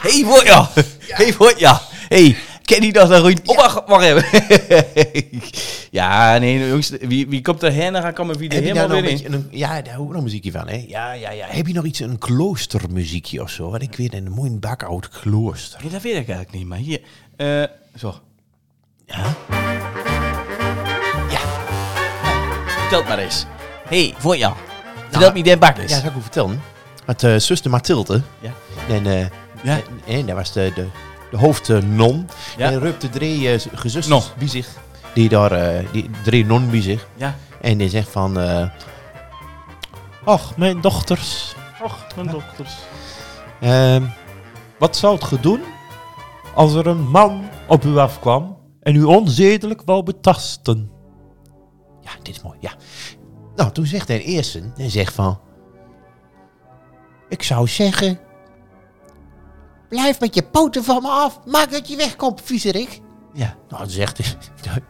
[SPEAKER 2] Hey, voor ja! Hey, voor ja! Hey, ken je dat dan goed? Oh, wacht, wacht even. ja, nee, nou, jongens, wie, wie komt er heen, dan gaan we weer
[SPEAKER 1] Heb je daar
[SPEAKER 2] helemaal
[SPEAKER 1] nog
[SPEAKER 2] weer
[SPEAKER 1] een
[SPEAKER 2] in.
[SPEAKER 1] beetje een, ja, daar hoor ik nog muziekje van, hè? Ja, ja, ja. Heb je nog iets, een kloostermuziekje of zo? Want ik weet een mooi bakoud klooster.
[SPEAKER 2] Ja, dat weet ik eigenlijk niet, maar hier. eh, zo. Ja? Ja. Vertel het maar eens. Hé, hey, voor jou. Vertel me Den Bakkers.
[SPEAKER 1] Nou. Ja, dat zou ik u vertellen. Met eh, zuster Mathilde.
[SPEAKER 2] Ja.
[SPEAKER 1] En, eh,
[SPEAKER 2] Ja.
[SPEAKER 1] en, en dat was de, de, de hoofdnon.
[SPEAKER 2] Ja.
[SPEAKER 1] En Rup de drie eh, z-
[SPEAKER 2] Non.
[SPEAKER 1] gezusters bij zich. Die daar, eh, die drie non bij zich.
[SPEAKER 2] Ja.
[SPEAKER 1] En die zegt van... eh
[SPEAKER 8] Ach, mijn dochters. Ach, mijn dochters.
[SPEAKER 1] ehm,
[SPEAKER 8] Wat zou het doen als er een man op u afkwam en u onzedelijk wou betasten?
[SPEAKER 1] ja, dit is mooi. Ja. Nou, toen zegt de eerste... En zegt van... Ik zou zeggen...
[SPEAKER 5] Blijf met je poten van me af. Maak dat je wegkomt, viezerik.
[SPEAKER 2] Ja.
[SPEAKER 1] Nou, dan zegt de,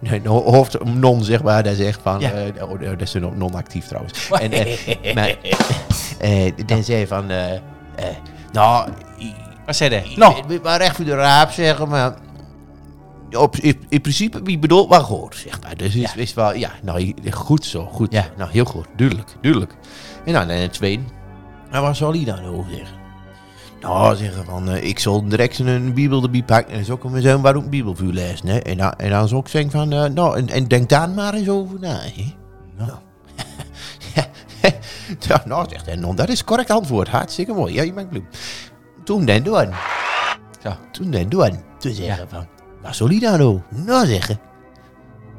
[SPEAKER 1] de, de hoofdnon, zeg maar, daar zegt van...
[SPEAKER 2] Ja.
[SPEAKER 1] eh, oh, dat is een non-actief trouwens. En, eh, maar, eh, dan zei hij van... eh, eh, nou,
[SPEAKER 2] Wat zei hij?
[SPEAKER 1] nou,
[SPEAKER 2] Nou.
[SPEAKER 1] ik moet maar recht voor de raap zeggen, maar... Op, in, in principe, wie bedoelt wat gehoord, zeg maar. Dus is, is wel, ja, nou, goed zo, goed.
[SPEAKER 2] Ja.
[SPEAKER 1] zo. Nou, heel goed, duidelijk, duidelijk. En dan en het tweede. Nou, wat zal hij dan over zeggen? Nou, zeggen van, eh, ik zal direct een bibel erbij pakken en zo kunnen we zo waarom bibel voor lezen, hè. En, dan- en dan zal ik zeggen van, eh, nou, en, en denk daar maar eens over na, hè. Nou. Ja, nou, zegt hij, non, dat is correct antwoord. Hartstikke mooi. Ja, je bent bloem. Toen dan doen.
[SPEAKER 2] Ja.
[SPEAKER 1] Toen dan doen. Toen zeggen van, wat zal hij dan nou? Nou zeggen,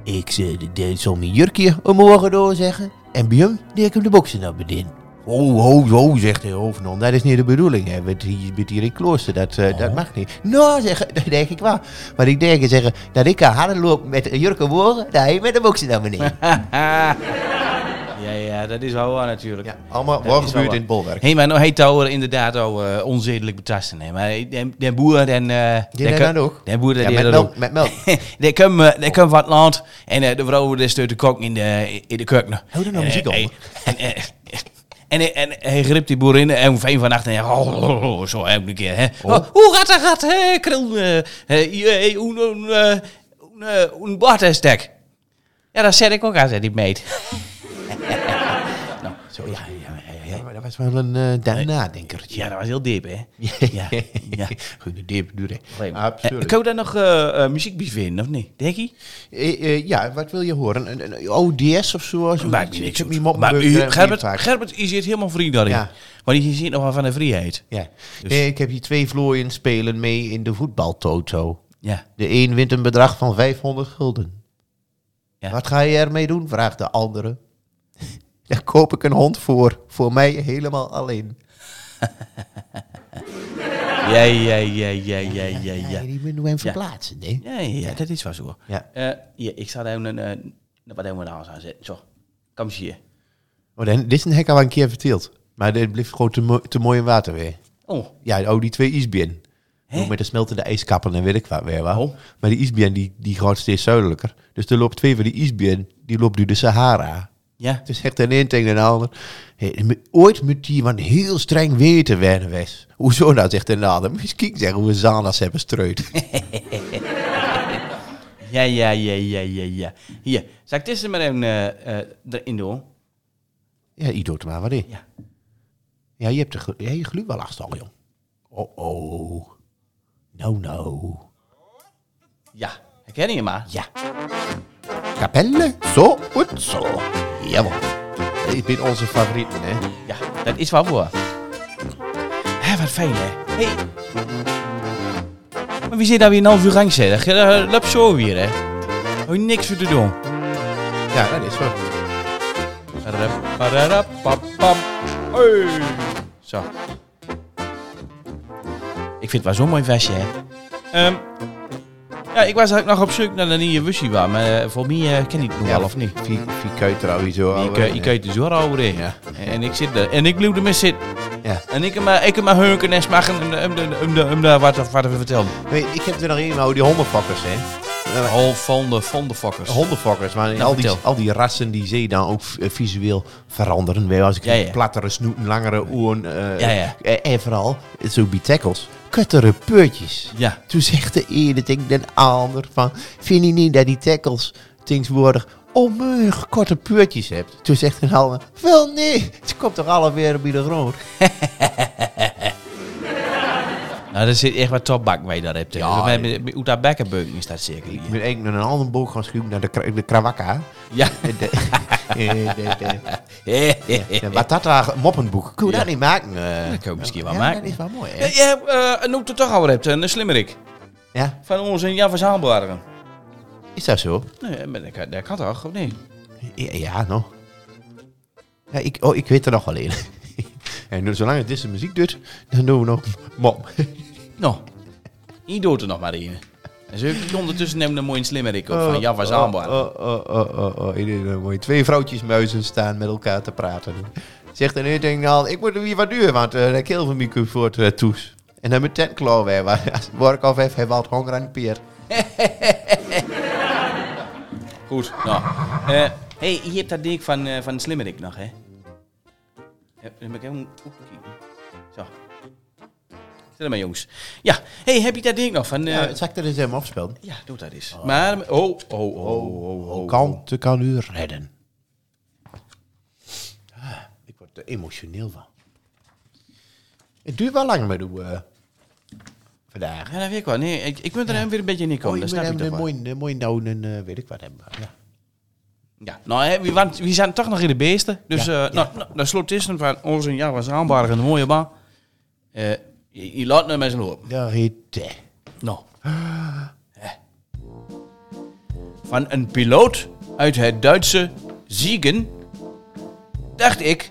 [SPEAKER 1] ik ze- de- de- zal mijn jurkje omhoog door zeggen. En bij hem, die ik hem de boksen naar beneden. Oh, ho, ho, zegt de hoofdnon. Dat is niet de bedoeling. Hè. Met, hier, met hier in klooster, dat, eh, dat mag niet. Nou, zeggen, dat denk ik wel. Maar ik denk zeggen, dat ik kan harder lopen met een jurk omhoog, dat hij met de boksen naar beneden.
[SPEAKER 2] ja, ja, dat is wel waar natuurlijk.
[SPEAKER 1] Ja, allemaal
[SPEAKER 2] Dat
[SPEAKER 1] wat
[SPEAKER 2] is
[SPEAKER 1] gebeurt
[SPEAKER 2] wel
[SPEAKER 1] in het bolwerk.
[SPEAKER 2] Hé, maar nou heet dat inderdaad al eh, onzedelijk betasten. Hè. Maar eh, den, den boer, den... eh
[SPEAKER 1] Die deed dat ook.
[SPEAKER 2] Den boer,
[SPEAKER 1] Ja,
[SPEAKER 2] den
[SPEAKER 1] met
[SPEAKER 2] deed dat
[SPEAKER 1] melk,
[SPEAKER 2] ook.
[SPEAKER 1] met melk.
[SPEAKER 2] die komen eh, die komen van het land en eh, de vrouw die stuurt de kok in de, in de keuken.
[SPEAKER 1] Hou daar nou
[SPEAKER 2] En, eh,
[SPEAKER 1] muziek onder.
[SPEAKER 2] En, eh, en, eh, en hij grip die boerin en om vijf van nacht en hij- oh, oh, oh, oh, zo elke keer. Hè. Oh, Hoe gaat dat? Gaat, hè, kril, eh, eh, je- eh, een- een, eh, een, eh, Een bartenstek. Ja, dat zet ik ook aan, zei die meid. nou, zo, ja, ja, ja, ja.
[SPEAKER 1] Ja, maar dat was wel een eh daarna-denkertje.
[SPEAKER 2] Ja, dat was heel diep, hè?
[SPEAKER 1] Ja.
[SPEAKER 2] Ja. ja.
[SPEAKER 1] Goed, diep, duur. hè. Ah,
[SPEAKER 2] Eh,
[SPEAKER 1] Absoluut.
[SPEAKER 2] kan we daar nog eh, eh, muziek bij vinden, of niet? Denk je?
[SPEAKER 1] Eh, eh, ja, wat wil je horen? Een, een- een ODS of zo? Zoiets. Ik heb
[SPEAKER 2] uit.
[SPEAKER 1] niet mop-
[SPEAKER 2] Maar
[SPEAKER 1] eh,
[SPEAKER 2] u,
[SPEAKER 1] eh,
[SPEAKER 2] Gerbert,
[SPEAKER 1] vaak.
[SPEAKER 2] Gerbert, je zit helemaal vriend daarin.
[SPEAKER 1] Ja.
[SPEAKER 2] Want je ziet nog wel van de vrijheid.
[SPEAKER 1] Ja.
[SPEAKER 2] Dus-
[SPEAKER 1] Nee, ik heb hier twee vlooien spelen mee in de voetbaltoto.
[SPEAKER 2] Ja.
[SPEAKER 1] De een wint een bedrag van 500 gulden.
[SPEAKER 2] Ja.
[SPEAKER 1] Wat ga je ermee doen? vraagt de andere. Daar koop ik een hond voor. Voor mij helemaal alleen.
[SPEAKER 2] Ja, ja, ja, ja, ja, ja, ja.
[SPEAKER 5] die moeten we hem verplaatsen, nee.
[SPEAKER 2] Ja, ja, dat is wel zo.
[SPEAKER 1] Ja.
[SPEAKER 2] Eh, hier, ik zal even een... eh, wat hebben we daar aan zetten? Zo, kom eens hier.
[SPEAKER 1] Oh, dan- dit is een hek al een keer verteeld. Maar dit bleef gewoon te, mo- te mooi in water weer.
[SPEAKER 2] Oh,
[SPEAKER 1] Ja, oh, die twee isbien. Hoe Met de smeltende ijskappen en weet ik wat weer wel.
[SPEAKER 2] Oh.
[SPEAKER 1] Maar die isbien die, die gaat steeds zuidelijker. Dus er loopt twee van die isbien, die loopt nu de Sahara.
[SPEAKER 2] ja.
[SPEAKER 1] Het is echt een een tegen de ander. Hey, me- ooit moet die man heel streng weten werden wees. Hoezo nou, zegt de ander. Misschien zeggen hoe we Zanas hebben streut.
[SPEAKER 2] Ja, ja, ja, ja, ja, ja. Hier, zal ik dit er maar even eh, eh, erin doen?
[SPEAKER 1] ja, Ido, doet er maar wat in.
[SPEAKER 2] Ja.
[SPEAKER 1] Ja, je hebt de glu- ja, je glu wel last al, jong. Oh, oh. Nou, nou.
[SPEAKER 2] Ja, herken je maar? Ja.
[SPEAKER 1] Kapelle, zo, goed, zo. Jawel. Ik ben onze favorieten, hè.
[SPEAKER 2] Ja, dat is wel voor. Hé, wat fijn, hè? Hé. Maar wie zit daar weer een half uur gang zitten? Eh, Loop zo weer, hè? Hoi, niks voor te doen.
[SPEAKER 1] Ja, dat is wel.
[SPEAKER 2] Pararapapam. Hey. Zo. Ik vind het wel zo'n mooi vestje, hè? Ehm, ja, ik was eigenlijk nog op zoek naar een nieuwe wussie, waar, maar eh, voor mij eh, ken ik het nog wel, of niet?
[SPEAKER 1] Wie, wie kuit er alweer zo
[SPEAKER 2] Ik, eh, ik
[SPEAKER 1] kuit.
[SPEAKER 2] kijk er zo over in. En ik zit er. En ik bleef ermee zitten.
[SPEAKER 1] Ja.
[SPEAKER 2] En ik heb maar, ik heb maar hunken en smaken om de- om de- om de- om de- wat, wat we vertellen.
[SPEAKER 1] Weet, ik heb er nog één, maar die hondenfokkers, hè.
[SPEAKER 2] Al van de van de fuckers.
[SPEAKER 1] Hondenfokkers, maar
[SPEAKER 2] Ja,
[SPEAKER 1] al, die,
[SPEAKER 2] vertel.
[SPEAKER 1] al die rassen die zie je dan ook eh, visueel veranderen. Weet je, als ik
[SPEAKER 2] Ja, ja.
[SPEAKER 1] plattere snoeten, langere oren. eh,
[SPEAKER 2] Ja, ja.
[SPEAKER 1] eh, en vooral, eh, zo bij tackles, kuttere peurtjes.
[SPEAKER 2] Ja.
[SPEAKER 1] Toen zegt de ene tegen de ander van... Vind je niet dat die tackles tegenwoordig onmogelijk korte peurtjes hebt? Toen zegt een ander... Wel nee, het komt toch alle weer bij de grond?
[SPEAKER 2] Nou, daar zit echt wat topbak mee, daar hebt.
[SPEAKER 1] Ja,
[SPEAKER 2] Ja. Uit dat bekkenbeuken is dat zeker.
[SPEAKER 1] Ik ben eigenlijk naar een andere boog gaan schuiven, naar de, kra- de krawakka.
[SPEAKER 2] Ja.
[SPEAKER 1] De, de, de, de Batata moppenboek. Kun je dat niet maken? eh?
[SPEAKER 2] Dat kan ik misschien wel
[SPEAKER 1] ja,
[SPEAKER 2] maken.
[SPEAKER 1] dat is wel mooi, hè?
[SPEAKER 2] Ja, Je hebt eh, een noot er toch al hebt, een slimmerik.
[SPEAKER 1] Ja,
[SPEAKER 2] Van ons en Jan van Zaalbergen.
[SPEAKER 1] is dat zo?
[SPEAKER 2] Nee, maar dat kan- dat kan toch, of niet?
[SPEAKER 1] Ja, ja, nou. Ja, ik, oh, ik weet er nog wel een. en dus zolang het deze muziek doet, dan doen we nog mom.
[SPEAKER 2] Nou, hier doet er nog maar een. En zo ik ondertussen nemen een mooie slimmerik op van Jan van Zaalbergen.
[SPEAKER 1] Oh, oh, oh, oh, oh. Ik denk, eh, mooi. Twee vrouwtjes muizen staan met elkaar te praten. Zegt een ding al, ik moet hem hier wat duur, want eh dat keel van mij komt voor het eh, toes. En dan mijn tentklauw weer, want als het work of heeft, hij wel het honger aan de peer.
[SPEAKER 2] Goed, nou. Eh hey, je hebt dat ding van, eh van Slimmerik nog, hè? Ja, Dan moet ik even opkijken. Zo. Stel maar, jongens. Ja, hey, heb je dat ding nog van... eh,
[SPEAKER 1] Ja, zal ik er eens even afspelen?
[SPEAKER 2] ja, doe dat eens. Maar, oh, oh, oh, oh, oh. oh.
[SPEAKER 1] Kante kan u redden. Ah, ik word er emotioneel van. Het duurt wel lang met u eh, vandaag.
[SPEAKER 2] Ja, dat weet ik wel. Nee, ik, ik moet er even weer een beetje in komen.
[SPEAKER 1] Oh, ik
[SPEAKER 2] dat snap ik
[SPEAKER 1] een
[SPEAKER 2] toch wel.
[SPEAKER 1] mooi, een mooi nou een eh, weet ik wat hebben. Ja.
[SPEAKER 2] Ja, nou, hè, we, waren, we zijn toch nog in de beesten. Dus, eh nou, nou, dat slot is een van onze ja, was aanbarig een mooie baan. Eh je, je laat hem met zijn lopen.
[SPEAKER 1] Daar heet eh,
[SPEAKER 2] Nou. Hè. Van een piloot uit het Duitse Ziegen dacht ik,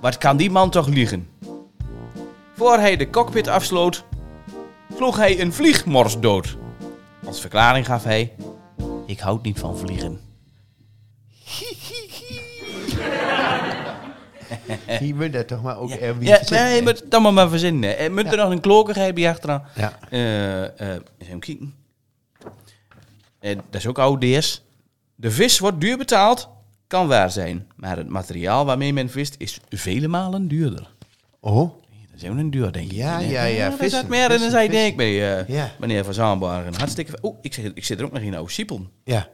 [SPEAKER 2] wat kan die man toch liegen? Voor hij de cockpit afsloot, sloeg hij een vliegmors dood. Als verklaring gaf hij, ik houd niet van vliegen.
[SPEAKER 1] Die moet dat toch maar ook
[SPEAKER 2] Ja,
[SPEAKER 1] ergens
[SPEAKER 2] ja,
[SPEAKER 1] verzinnen,
[SPEAKER 2] nee, je
[SPEAKER 1] hè?
[SPEAKER 2] moet het allemaal maar verzinnen. hè. Je moet er nog een klokigheid bij achteraan.
[SPEAKER 1] Ja.
[SPEAKER 2] Eh, eh, eens even kijken. Eh, dat is ook ODS. De vis wordt duur betaald, kan waar zijn. Maar het materiaal waarmee men vist is vele malen duurder.
[SPEAKER 1] Oh,
[SPEAKER 2] Dat is even een duur, denk ik.
[SPEAKER 1] Ja,
[SPEAKER 2] Nee.
[SPEAKER 1] ja, ja,
[SPEAKER 2] Daar
[SPEAKER 1] vissen,
[SPEAKER 2] zat meer in dan
[SPEAKER 1] vissen,
[SPEAKER 2] zij
[SPEAKER 1] vissen.
[SPEAKER 2] denk bij eh,
[SPEAKER 1] Ja.
[SPEAKER 2] meneer Van Zaanbargen. Hartstikke... Oeh, ik, zit- ik zit er ook nog in, oude Siepel.
[SPEAKER 1] ja.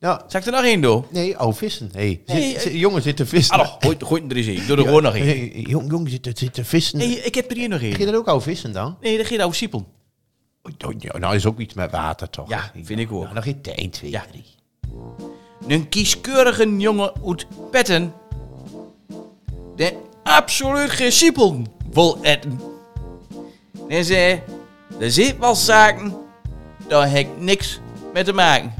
[SPEAKER 1] Nou,
[SPEAKER 2] Zal ik er nog één doen?
[SPEAKER 1] nee, oh, vissen. Hey. Zit-
[SPEAKER 2] Nee, eh,
[SPEAKER 1] zit- jongen zit te vissen.
[SPEAKER 2] Hallo, gooi, gooi er eens in. Doe er gewoon nog één.
[SPEAKER 1] Hey, jong, jongen zit, te- zit te vissen.
[SPEAKER 2] Nee, ik heb er hier nog
[SPEAKER 1] Ga je
[SPEAKER 2] één.
[SPEAKER 1] dat ook al vissen dan?
[SPEAKER 2] Nee, dat geeft oude Siepel.
[SPEAKER 1] Oh, ja, nou, is ook iets met water toch?
[SPEAKER 2] Ja, vind ik ook.
[SPEAKER 1] Nou, dan geeft de 1, 2,
[SPEAKER 2] Ja.
[SPEAKER 1] 3.
[SPEAKER 2] Een kieskeurige jongen uit Petten. De absoluut gesiepelden wil eten. En zei, er zit wel zaken, daar heb ik niks mee te maken.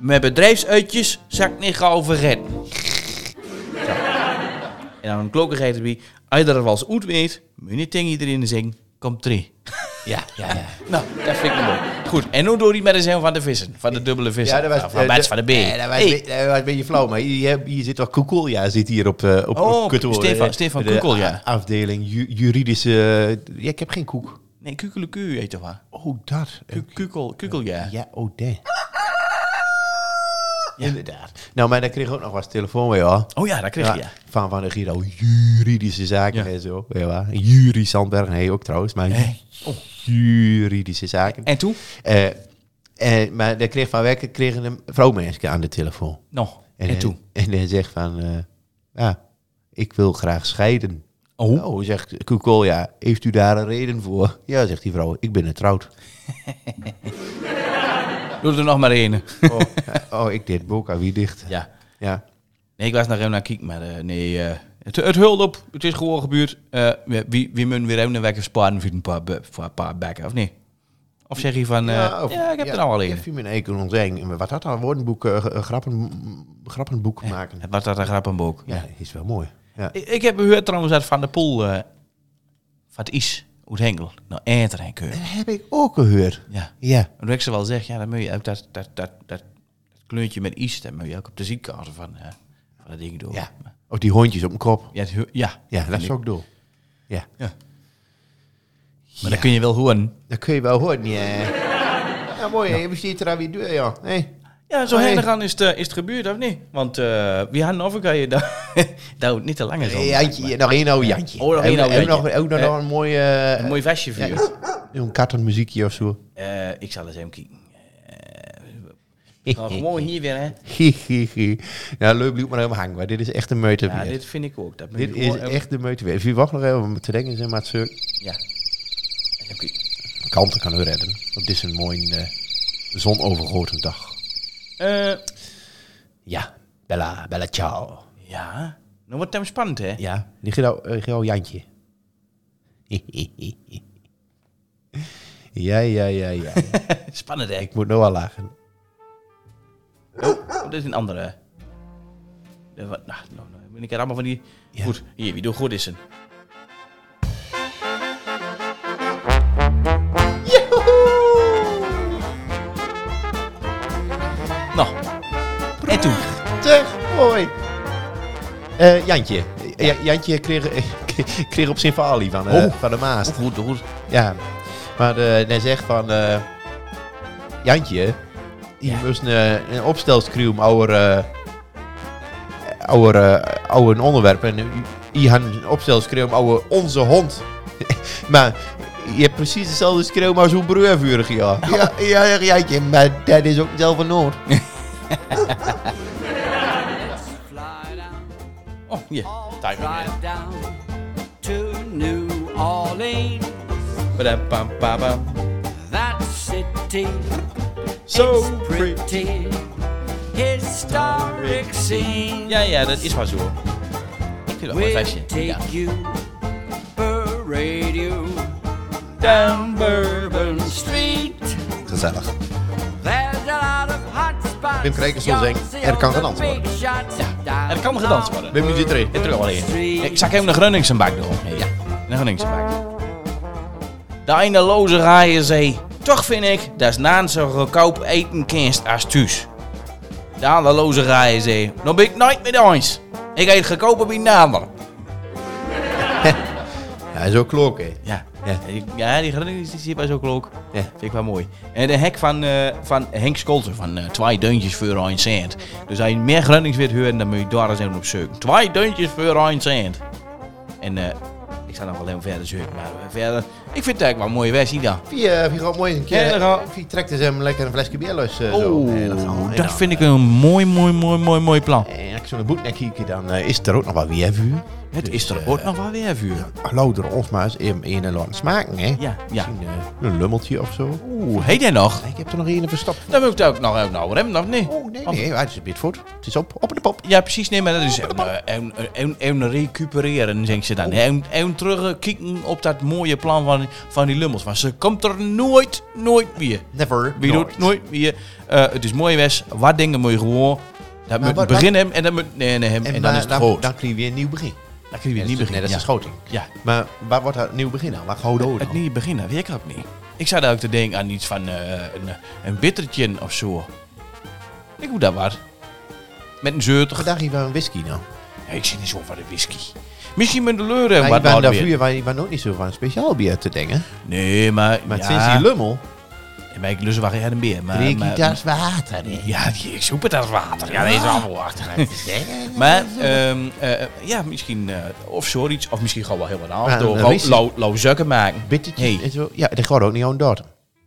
[SPEAKER 2] Met bedrijfsuitjes zak ik niet gaan over redden. Zo. En dan een klokkenheid erbij. Als je dat als oet weet, moet je niet tegen iedereen zeggen, komt drie. Ja, ja, ja. nou, dat vind ik mooi. Goed, en hoe doe die met de zin van de vissen? Van de dubbele vissen?
[SPEAKER 1] Ja, dat was,
[SPEAKER 2] Nou, van Bats van de B.
[SPEAKER 1] Nee, dat was,
[SPEAKER 2] Hey.
[SPEAKER 1] dat was een beetje flauw, maar hier, hier zit wel Kukulja zit hier op, eh, op,
[SPEAKER 2] Oh,
[SPEAKER 1] op kutwoorden,
[SPEAKER 2] Stefan-
[SPEAKER 1] hè.
[SPEAKER 2] Stefan
[SPEAKER 1] De
[SPEAKER 2] Kukulja.
[SPEAKER 1] a- afdeling ju- juridische... Ja, ik heb geen koek.
[SPEAKER 2] Nee, kukeleku heet dat waar.
[SPEAKER 1] Oh, dat.
[SPEAKER 2] Ku- Kukel, kukel, ja.
[SPEAKER 1] Ja, oh, dat. Inderdaad. Nou, maar dan kreeg ik ook nog wat telefoon weer, hoor.
[SPEAKER 2] Oh ja, dat kreeg je. Ja.
[SPEAKER 1] Van Van de Giro, juridische zaken
[SPEAKER 2] Ja.
[SPEAKER 1] en zo. Ja, waar? Jury Sandberg, nee, ook trouwens, maar Oh. juridische zaken.
[SPEAKER 2] En toen?
[SPEAKER 1] Eh, eh, maar daar kreeg Van Wekker kreeg een vrouwmeisje aan de telefoon.
[SPEAKER 2] Nog. En,
[SPEAKER 1] hij-
[SPEAKER 2] toen?
[SPEAKER 1] En hij zegt van, eh, ja, ik wil graag scheiden.
[SPEAKER 2] Oh.
[SPEAKER 1] Oh, zegt Kukol, ja, heeft u daar een reden voor? Ja, zegt die vrouw, ik ben getrouwd.
[SPEAKER 2] Doe er nog maar één.
[SPEAKER 1] Oh, oh ik deed Boca, wie dicht?
[SPEAKER 2] ja.
[SPEAKER 1] Ja.
[SPEAKER 2] Nee, ik was naar hem naar kijken, maar eh, nee. eh, het, het hult op. Het is gewoon gebeurd. Eh, we- wie, wie moet weer even wekker sparen voor een paar, be- voor een paar bekken, of nee? Of zeg je van, eh, ja,
[SPEAKER 1] of-
[SPEAKER 2] ik heb er nou al
[SPEAKER 1] Ik
[SPEAKER 2] één.
[SPEAKER 1] heb u mijn eigen zeggen. Wat had dat? Woordenboek, eh, ge- eh, grappen, mm, grappenboek maken.
[SPEAKER 2] Wat dat een grappenboek.
[SPEAKER 1] Ja, is wel mooi. Ja.
[SPEAKER 2] Ik, ik heb gehoord trouwens dat Van der Poel, eh, van het is, uit Hengel, nou enter en keur.
[SPEAKER 1] Dat heb ik ook gehoord.
[SPEAKER 2] Ja.
[SPEAKER 1] Ja.
[SPEAKER 2] En toen ik ze wel zeg, ja, dan moet je ook dat, dat, dat, dat, dat kleurtje met is, dan moet je ook op de ziekenhuis van, eh, van dat ding doen.
[SPEAKER 1] ja. Of Oh, die hondjes op mijn kop.
[SPEAKER 2] Ja, het hu- ja.
[SPEAKER 1] Ja, dat is ook door. Ja.
[SPEAKER 2] Maar dan kun je wel horen.
[SPEAKER 1] Dat kun je wel horen, ja. Ja, mooi, hè. we zitten er weer door, ja. Hey.
[SPEAKER 2] Ja, zo
[SPEAKER 1] Oh,
[SPEAKER 2] heen
[SPEAKER 1] nee.
[SPEAKER 2] gaan is het, eh, is het gebeurd, of niet? Want eh wie hadden of ik je daar daar hoeft niet te lang is om.
[SPEAKER 1] Hey, Jantje, nog één oude Jantje.
[SPEAKER 2] Oh, nog één
[SPEAKER 1] Hebben- hebben
[SPEAKER 2] oude
[SPEAKER 1] we
[SPEAKER 2] Jantje.
[SPEAKER 1] nog- Ook nog,
[SPEAKER 2] Eh,
[SPEAKER 1] nog een mooie... eh,
[SPEAKER 2] Een mooi vestje voor je.
[SPEAKER 1] Een kattenmuziekje of zo.
[SPEAKER 2] Eh, ik zal eens even kijken. Eh, nou, gewoon hier weer, hè.
[SPEAKER 1] Hihihi. nou, leuk, blijf maar helemaal hangen. maar Dit is echt een meute
[SPEAKER 2] Ja,
[SPEAKER 1] weer.
[SPEAKER 2] dit vind ik ook. Dat moet
[SPEAKER 1] Dit
[SPEAKER 2] je
[SPEAKER 1] is
[SPEAKER 2] gewoon even-
[SPEAKER 1] echt de meute weer. Wie wacht nog even om te denken, zeg maar, het zo-
[SPEAKER 2] Ja. Even kijken.
[SPEAKER 1] kalmte kan u redden. Want dit is een mooi eh zonovergoten dag.
[SPEAKER 2] Eh,
[SPEAKER 1] Ja, bella, bella ciao.
[SPEAKER 2] ja. Nou wordt het spannend, hè.
[SPEAKER 1] Ja, die Giro, eh, Giro Jantje. ja, ja, ja, ja.
[SPEAKER 2] Spannend, hè.
[SPEAKER 1] Ik moet nou al lachen.
[SPEAKER 2] Oh, dit is een andere. Eh, wat- nou, nou, nou, ben ik er allemaal van die... Goed, hier, wie doet goed is een. Nou, en toen.
[SPEAKER 1] Zeg, mooi. Eh, Jantje. Eh, Ja, Jantje kreeg, kreeg op zijn falie van, eh,
[SPEAKER 2] Oh.
[SPEAKER 1] van de Maas.
[SPEAKER 2] Goed, goed.
[SPEAKER 1] Ja, maar eh, hij zegt van... eh, Jantje, je moest eh, een, een opstelscrew om oude, eh oude, eh, oude onderwerp. En je had een opstelscrew om oude onze hond. maar je hebt precies dezelfde schreeuw maar zo'n broer vorig jaar. Ja, ja, ja, Jantje, maar dat is ook zelf een Noord.
[SPEAKER 2] Oh, hier. Timing, hè.
[SPEAKER 9] to New Orleans.
[SPEAKER 2] Badabam-babam.
[SPEAKER 9] That city
[SPEAKER 2] Zo
[SPEAKER 9] is pretty. Historic scene.
[SPEAKER 2] Ja, ja, dat is maar zo. Ik vind het wel een
[SPEAKER 9] We'll
[SPEAKER 2] vestje.
[SPEAKER 9] take
[SPEAKER 2] Ja.
[SPEAKER 9] you, parade you
[SPEAKER 2] Down
[SPEAKER 9] Bourbon Street.
[SPEAKER 1] Gezellig.
[SPEAKER 9] There's a lot of hot spots.
[SPEAKER 1] Wim Krijkers wil zeggen,
[SPEAKER 9] You'll see
[SPEAKER 1] er kan
[SPEAKER 9] all the
[SPEAKER 1] gedanst worden.
[SPEAKER 9] big shots
[SPEAKER 2] Er
[SPEAKER 9] down
[SPEAKER 2] kan gedanst worden.
[SPEAKER 1] Wim, die zit erin.
[SPEAKER 2] Ik terug wel in. Ik zak hem de Grunningsen bak erop. Ja, de Grunningsen bak. De eindeloze raaien zee. Toch vind ik dat is na zo goedkoop eten kinst als thuis. De eindeloze raaien zee. Dan ben ik nooit met eens. Ik eet goedkoper bij een ander.
[SPEAKER 1] Ja, zo klok, hè.
[SPEAKER 2] Ja,
[SPEAKER 1] Ja.
[SPEAKER 2] ja. die, ja, die Groningers die zit bij zo'n klok.
[SPEAKER 1] Ja.
[SPEAKER 2] Vind ik wel mooi. En de hek van, eh, van Henk Scholten van eh, Twee Deuntjes voor een cent. Dus als je meer Gronings wilt horen, dan moet je daar eens even op zoeken. Twee Deuntjes voor een cent. En eh, ik zal nog wel even verder zoeken. Maar eh, verder, ik vind het eigenlijk wel een mooie versie dan.
[SPEAKER 1] Wie, eh, wie gaat mooi eens een
[SPEAKER 2] Ja,
[SPEAKER 1] keer...
[SPEAKER 2] dan gaan-
[SPEAKER 1] wie trekt eens hem lekker een flesje bier los? eh, zo.
[SPEAKER 2] Oeh,
[SPEAKER 1] En dan gaan we- en
[SPEAKER 2] Oh, dat
[SPEAKER 1] dan-
[SPEAKER 2] vind ik een mooi, mooi, mooi, mooi, mooi plan.
[SPEAKER 1] En als ik zo'n boetnek kijk, dan eh, is er ook nog wat weervuur.
[SPEAKER 2] Het
[SPEAKER 1] Dus,
[SPEAKER 2] is er
[SPEAKER 1] eh,
[SPEAKER 2] ook nog wel weer vuur.
[SPEAKER 1] Louder ons maar eens in een en ander smaken, hè?
[SPEAKER 2] Ja, ja.
[SPEAKER 1] Misschien eh, een lummeltje of zo.
[SPEAKER 2] Oeh, heet hij nog?
[SPEAKER 1] Ik heb er nog één verstopt.
[SPEAKER 2] Dan moet ik het ook nog even nou remmen, of niet?
[SPEAKER 1] Oh, nee, nee, het is een bit voort. Het is op, op de pop.
[SPEAKER 2] Ja, precies. Nee, maar dat
[SPEAKER 1] Oh,
[SPEAKER 2] is een, eh, een, een, een recupereren, denk ze dan. Een, een terugkijken op dat mooie plan van van, van die lummels. Maar ze komt er nooit, nooit meer.
[SPEAKER 1] Never.
[SPEAKER 2] Wie
[SPEAKER 1] nooit.
[SPEAKER 2] doet nooit meer. Eh, het is mooi west. Wat dingen moet je gewoon. Dat moet
[SPEAKER 1] wat-
[SPEAKER 2] beginnen hem en dat moet. Nee, nee, hem. En,
[SPEAKER 1] En,
[SPEAKER 2] dan
[SPEAKER 1] maar
[SPEAKER 2] is het groot.
[SPEAKER 1] Dan kun je weer een nieuw begin.
[SPEAKER 2] Dan kun je weer
[SPEAKER 1] Dat
[SPEAKER 2] niet
[SPEAKER 1] is natuurlijk
[SPEAKER 2] beginnen.
[SPEAKER 1] Net als
[SPEAKER 2] ja.
[SPEAKER 1] een schoting.
[SPEAKER 2] Ja.
[SPEAKER 1] Maar waar wordt dat nieuw begin aan? Waar gaan we door
[SPEAKER 2] Het
[SPEAKER 1] dan?
[SPEAKER 2] niet beginnen, weet ik ook niet. Ik zou daar ook te denken aan iets van eh, een, een bittertje of zo. Ik hoe dat waar. Met een zeutig.
[SPEAKER 1] Vandaag hier wel een whisky nou.
[SPEAKER 2] Ja, ik zit niet zo van de whisky. Misschien met de leuren en
[SPEAKER 1] Maar
[SPEAKER 2] wat
[SPEAKER 1] ik ben
[SPEAKER 2] nou
[SPEAKER 1] daar
[SPEAKER 2] weer.
[SPEAKER 1] vroeger waar, waar nooit niet zo van een speciaal bier te denken.
[SPEAKER 2] Nee, maar...
[SPEAKER 1] Maar
[SPEAKER 2] ja,
[SPEAKER 1] sinds die lummel
[SPEAKER 2] nee, maar ik lust wel geen meer. Maar,
[SPEAKER 1] drink
[SPEAKER 2] maar-
[SPEAKER 1] ik dat water in.
[SPEAKER 2] Ja, die ik soep het als water. Ja, dat is allemaal achter. maar, ehm, eh, ja, misschien... eh, of zoiets. Of misschien gewoon wel heel wat anders.
[SPEAKER 1] Ja,
[SPEAKER 2] door
[SPEAKER 1] een
[SPEAKER 2] lauw
[SPEAKER 1] whisky.
[SPEAKER 2] lauw- lauw zukken maken.
[SPEAKER 1] Bittertje
[SPEAKER 2] Nee.
[SPEAKER 1] en zo. Ja, dat gaat ook niet aan dood.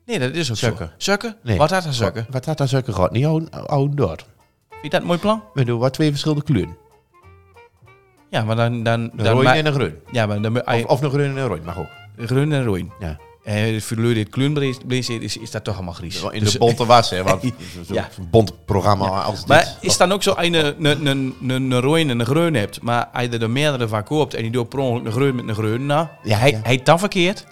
[SPEAKER 2] Nee, dat is ook
[SPEAKER 1] Zukken.
[SPEAKER 2] zo. Zukken?
[SPEAKER 1] Nee.
[SPEAKER 2] Wat had dat zukken?
[SPEAKER 1] Wat dat dan zuiker gaat niet aan- aan dood.
[SPEAKER 2] Vind je dat een mooi plan?
[SPEAKER 1] We doen wat twee verschillende kleuren.
[SPEAKER 2] Ja, maar dan... dan,
[SPEAKER 1] Een
[SPEAKER 2] dan,
[SPEAKER 1] rode
[SPEAKER 2] ma-
[SPEAKER 1] en een groen.
[SPEAKER 2] Ja, maar dan...
[SPEAKER 1] Of, of een groen en een rood, mag ook.
[SPEAKER 2] Groen en rood.
[SPEAKER 1] Ja.
[SPEAKER 2] En voor de leuren die het kleurblindheid is, is dat toch allemaal gries.
[SPEAKER 1] In
[SPEAKER 2] Dus-
[SPEAKER 1] de bonte was, hè. Want
[SPEAKER 2] Ja.
[SPEAKER 1] zo'n bont programma als dit.
[SPEAKER 2] Maar is dan ook zo als je een, een, een, een, een rode en een groen hebt, maar als je er meerdere van koopt en die doet per ongeluk een groen met een groen, nou,
[SPEAKER 1] Ja,
[SPEAKER 2] hij,
[SPEAKER 1] ja.
[SPEAKER 2] hij het dan verkeerd.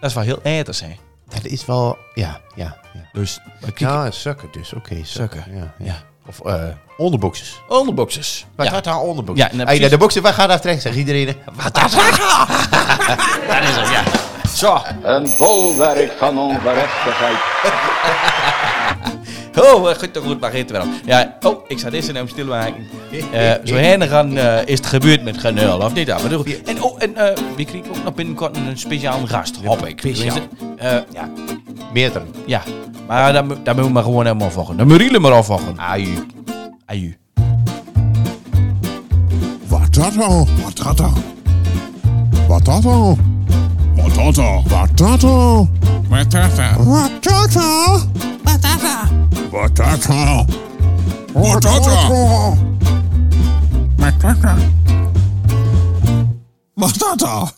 [SPEAKER 2] Dat is wel heel eters, hè.
[SPEAKER 1] Dat is wel... Ja, ja, ja.
[SPEAKER 2] Dus, maar kijk,
[SPEAKER 1] Ja, sukken dus. Oké, sukken.
[SPEAKER 2] Sukken.
[SPEAKER 1] Ja, ja.
[SPEAKER 2] ja.
[SPEAKER 1] Of eh onderboxes.
[SPEAKER 2] Onderboxers.
[SPEAKER 1] Wat
[SPEAKER 2] Ja.
[SPEAKER 1] gaat daar onderboxes?
[SPEAKER 2] Ja, nou,
[SPEAKER 1] hey,
[SPEAKER 2] precies.
[SPEAKER 1] de boxen, waar gaat daar terecht? Zegt iedereen.
[SPEAKER 2] Wat dat Dat is het, ja. Zo.
[SPEAKER 3] Een bolwerk van ongerechtigheid.
[SPEAKER 2] Oh, eh, goed, toch goed, maar geen wel. Ja, oh, ik zat eerst in hem stilmaken. Eh zo heen gaan eh, is het gebeurd met Granul, of niet? Ja, maar doe goed. En, oh, en eh we kregen ook nog binnenkort een speciaal gast, hop ik.
[SPEAKER 1] speciaal.
[SPEAKER 2] Eh, ja,
[SPEAKER 1] Meerdere.
[SPEAKER 2] Ja, maar daar, moet- daar moeten we maar gewoon helemaal volgen. Dan moeten jullie maar afvolgen.
[SPEAKER 1] Aju.
[SPEAKER 2] Aju.
[SPEAKER 10] Wat dat al? Wat dat al? Wat dat al?
[SPEAKER 4] Patata.
[SPEAKER 10] Wat dat al?
[SPEAKER 4] Patata.
[SPEAKER 10] Wat dat al?
[SPEAKER 4] Patata. Patata.
[SPEAKER 10] Wat
[SPEAKER 4] dat
[SPEAKER 10] al?
[SPEAKER 4] Patata.
[SPEAKER 10] Wat dat al?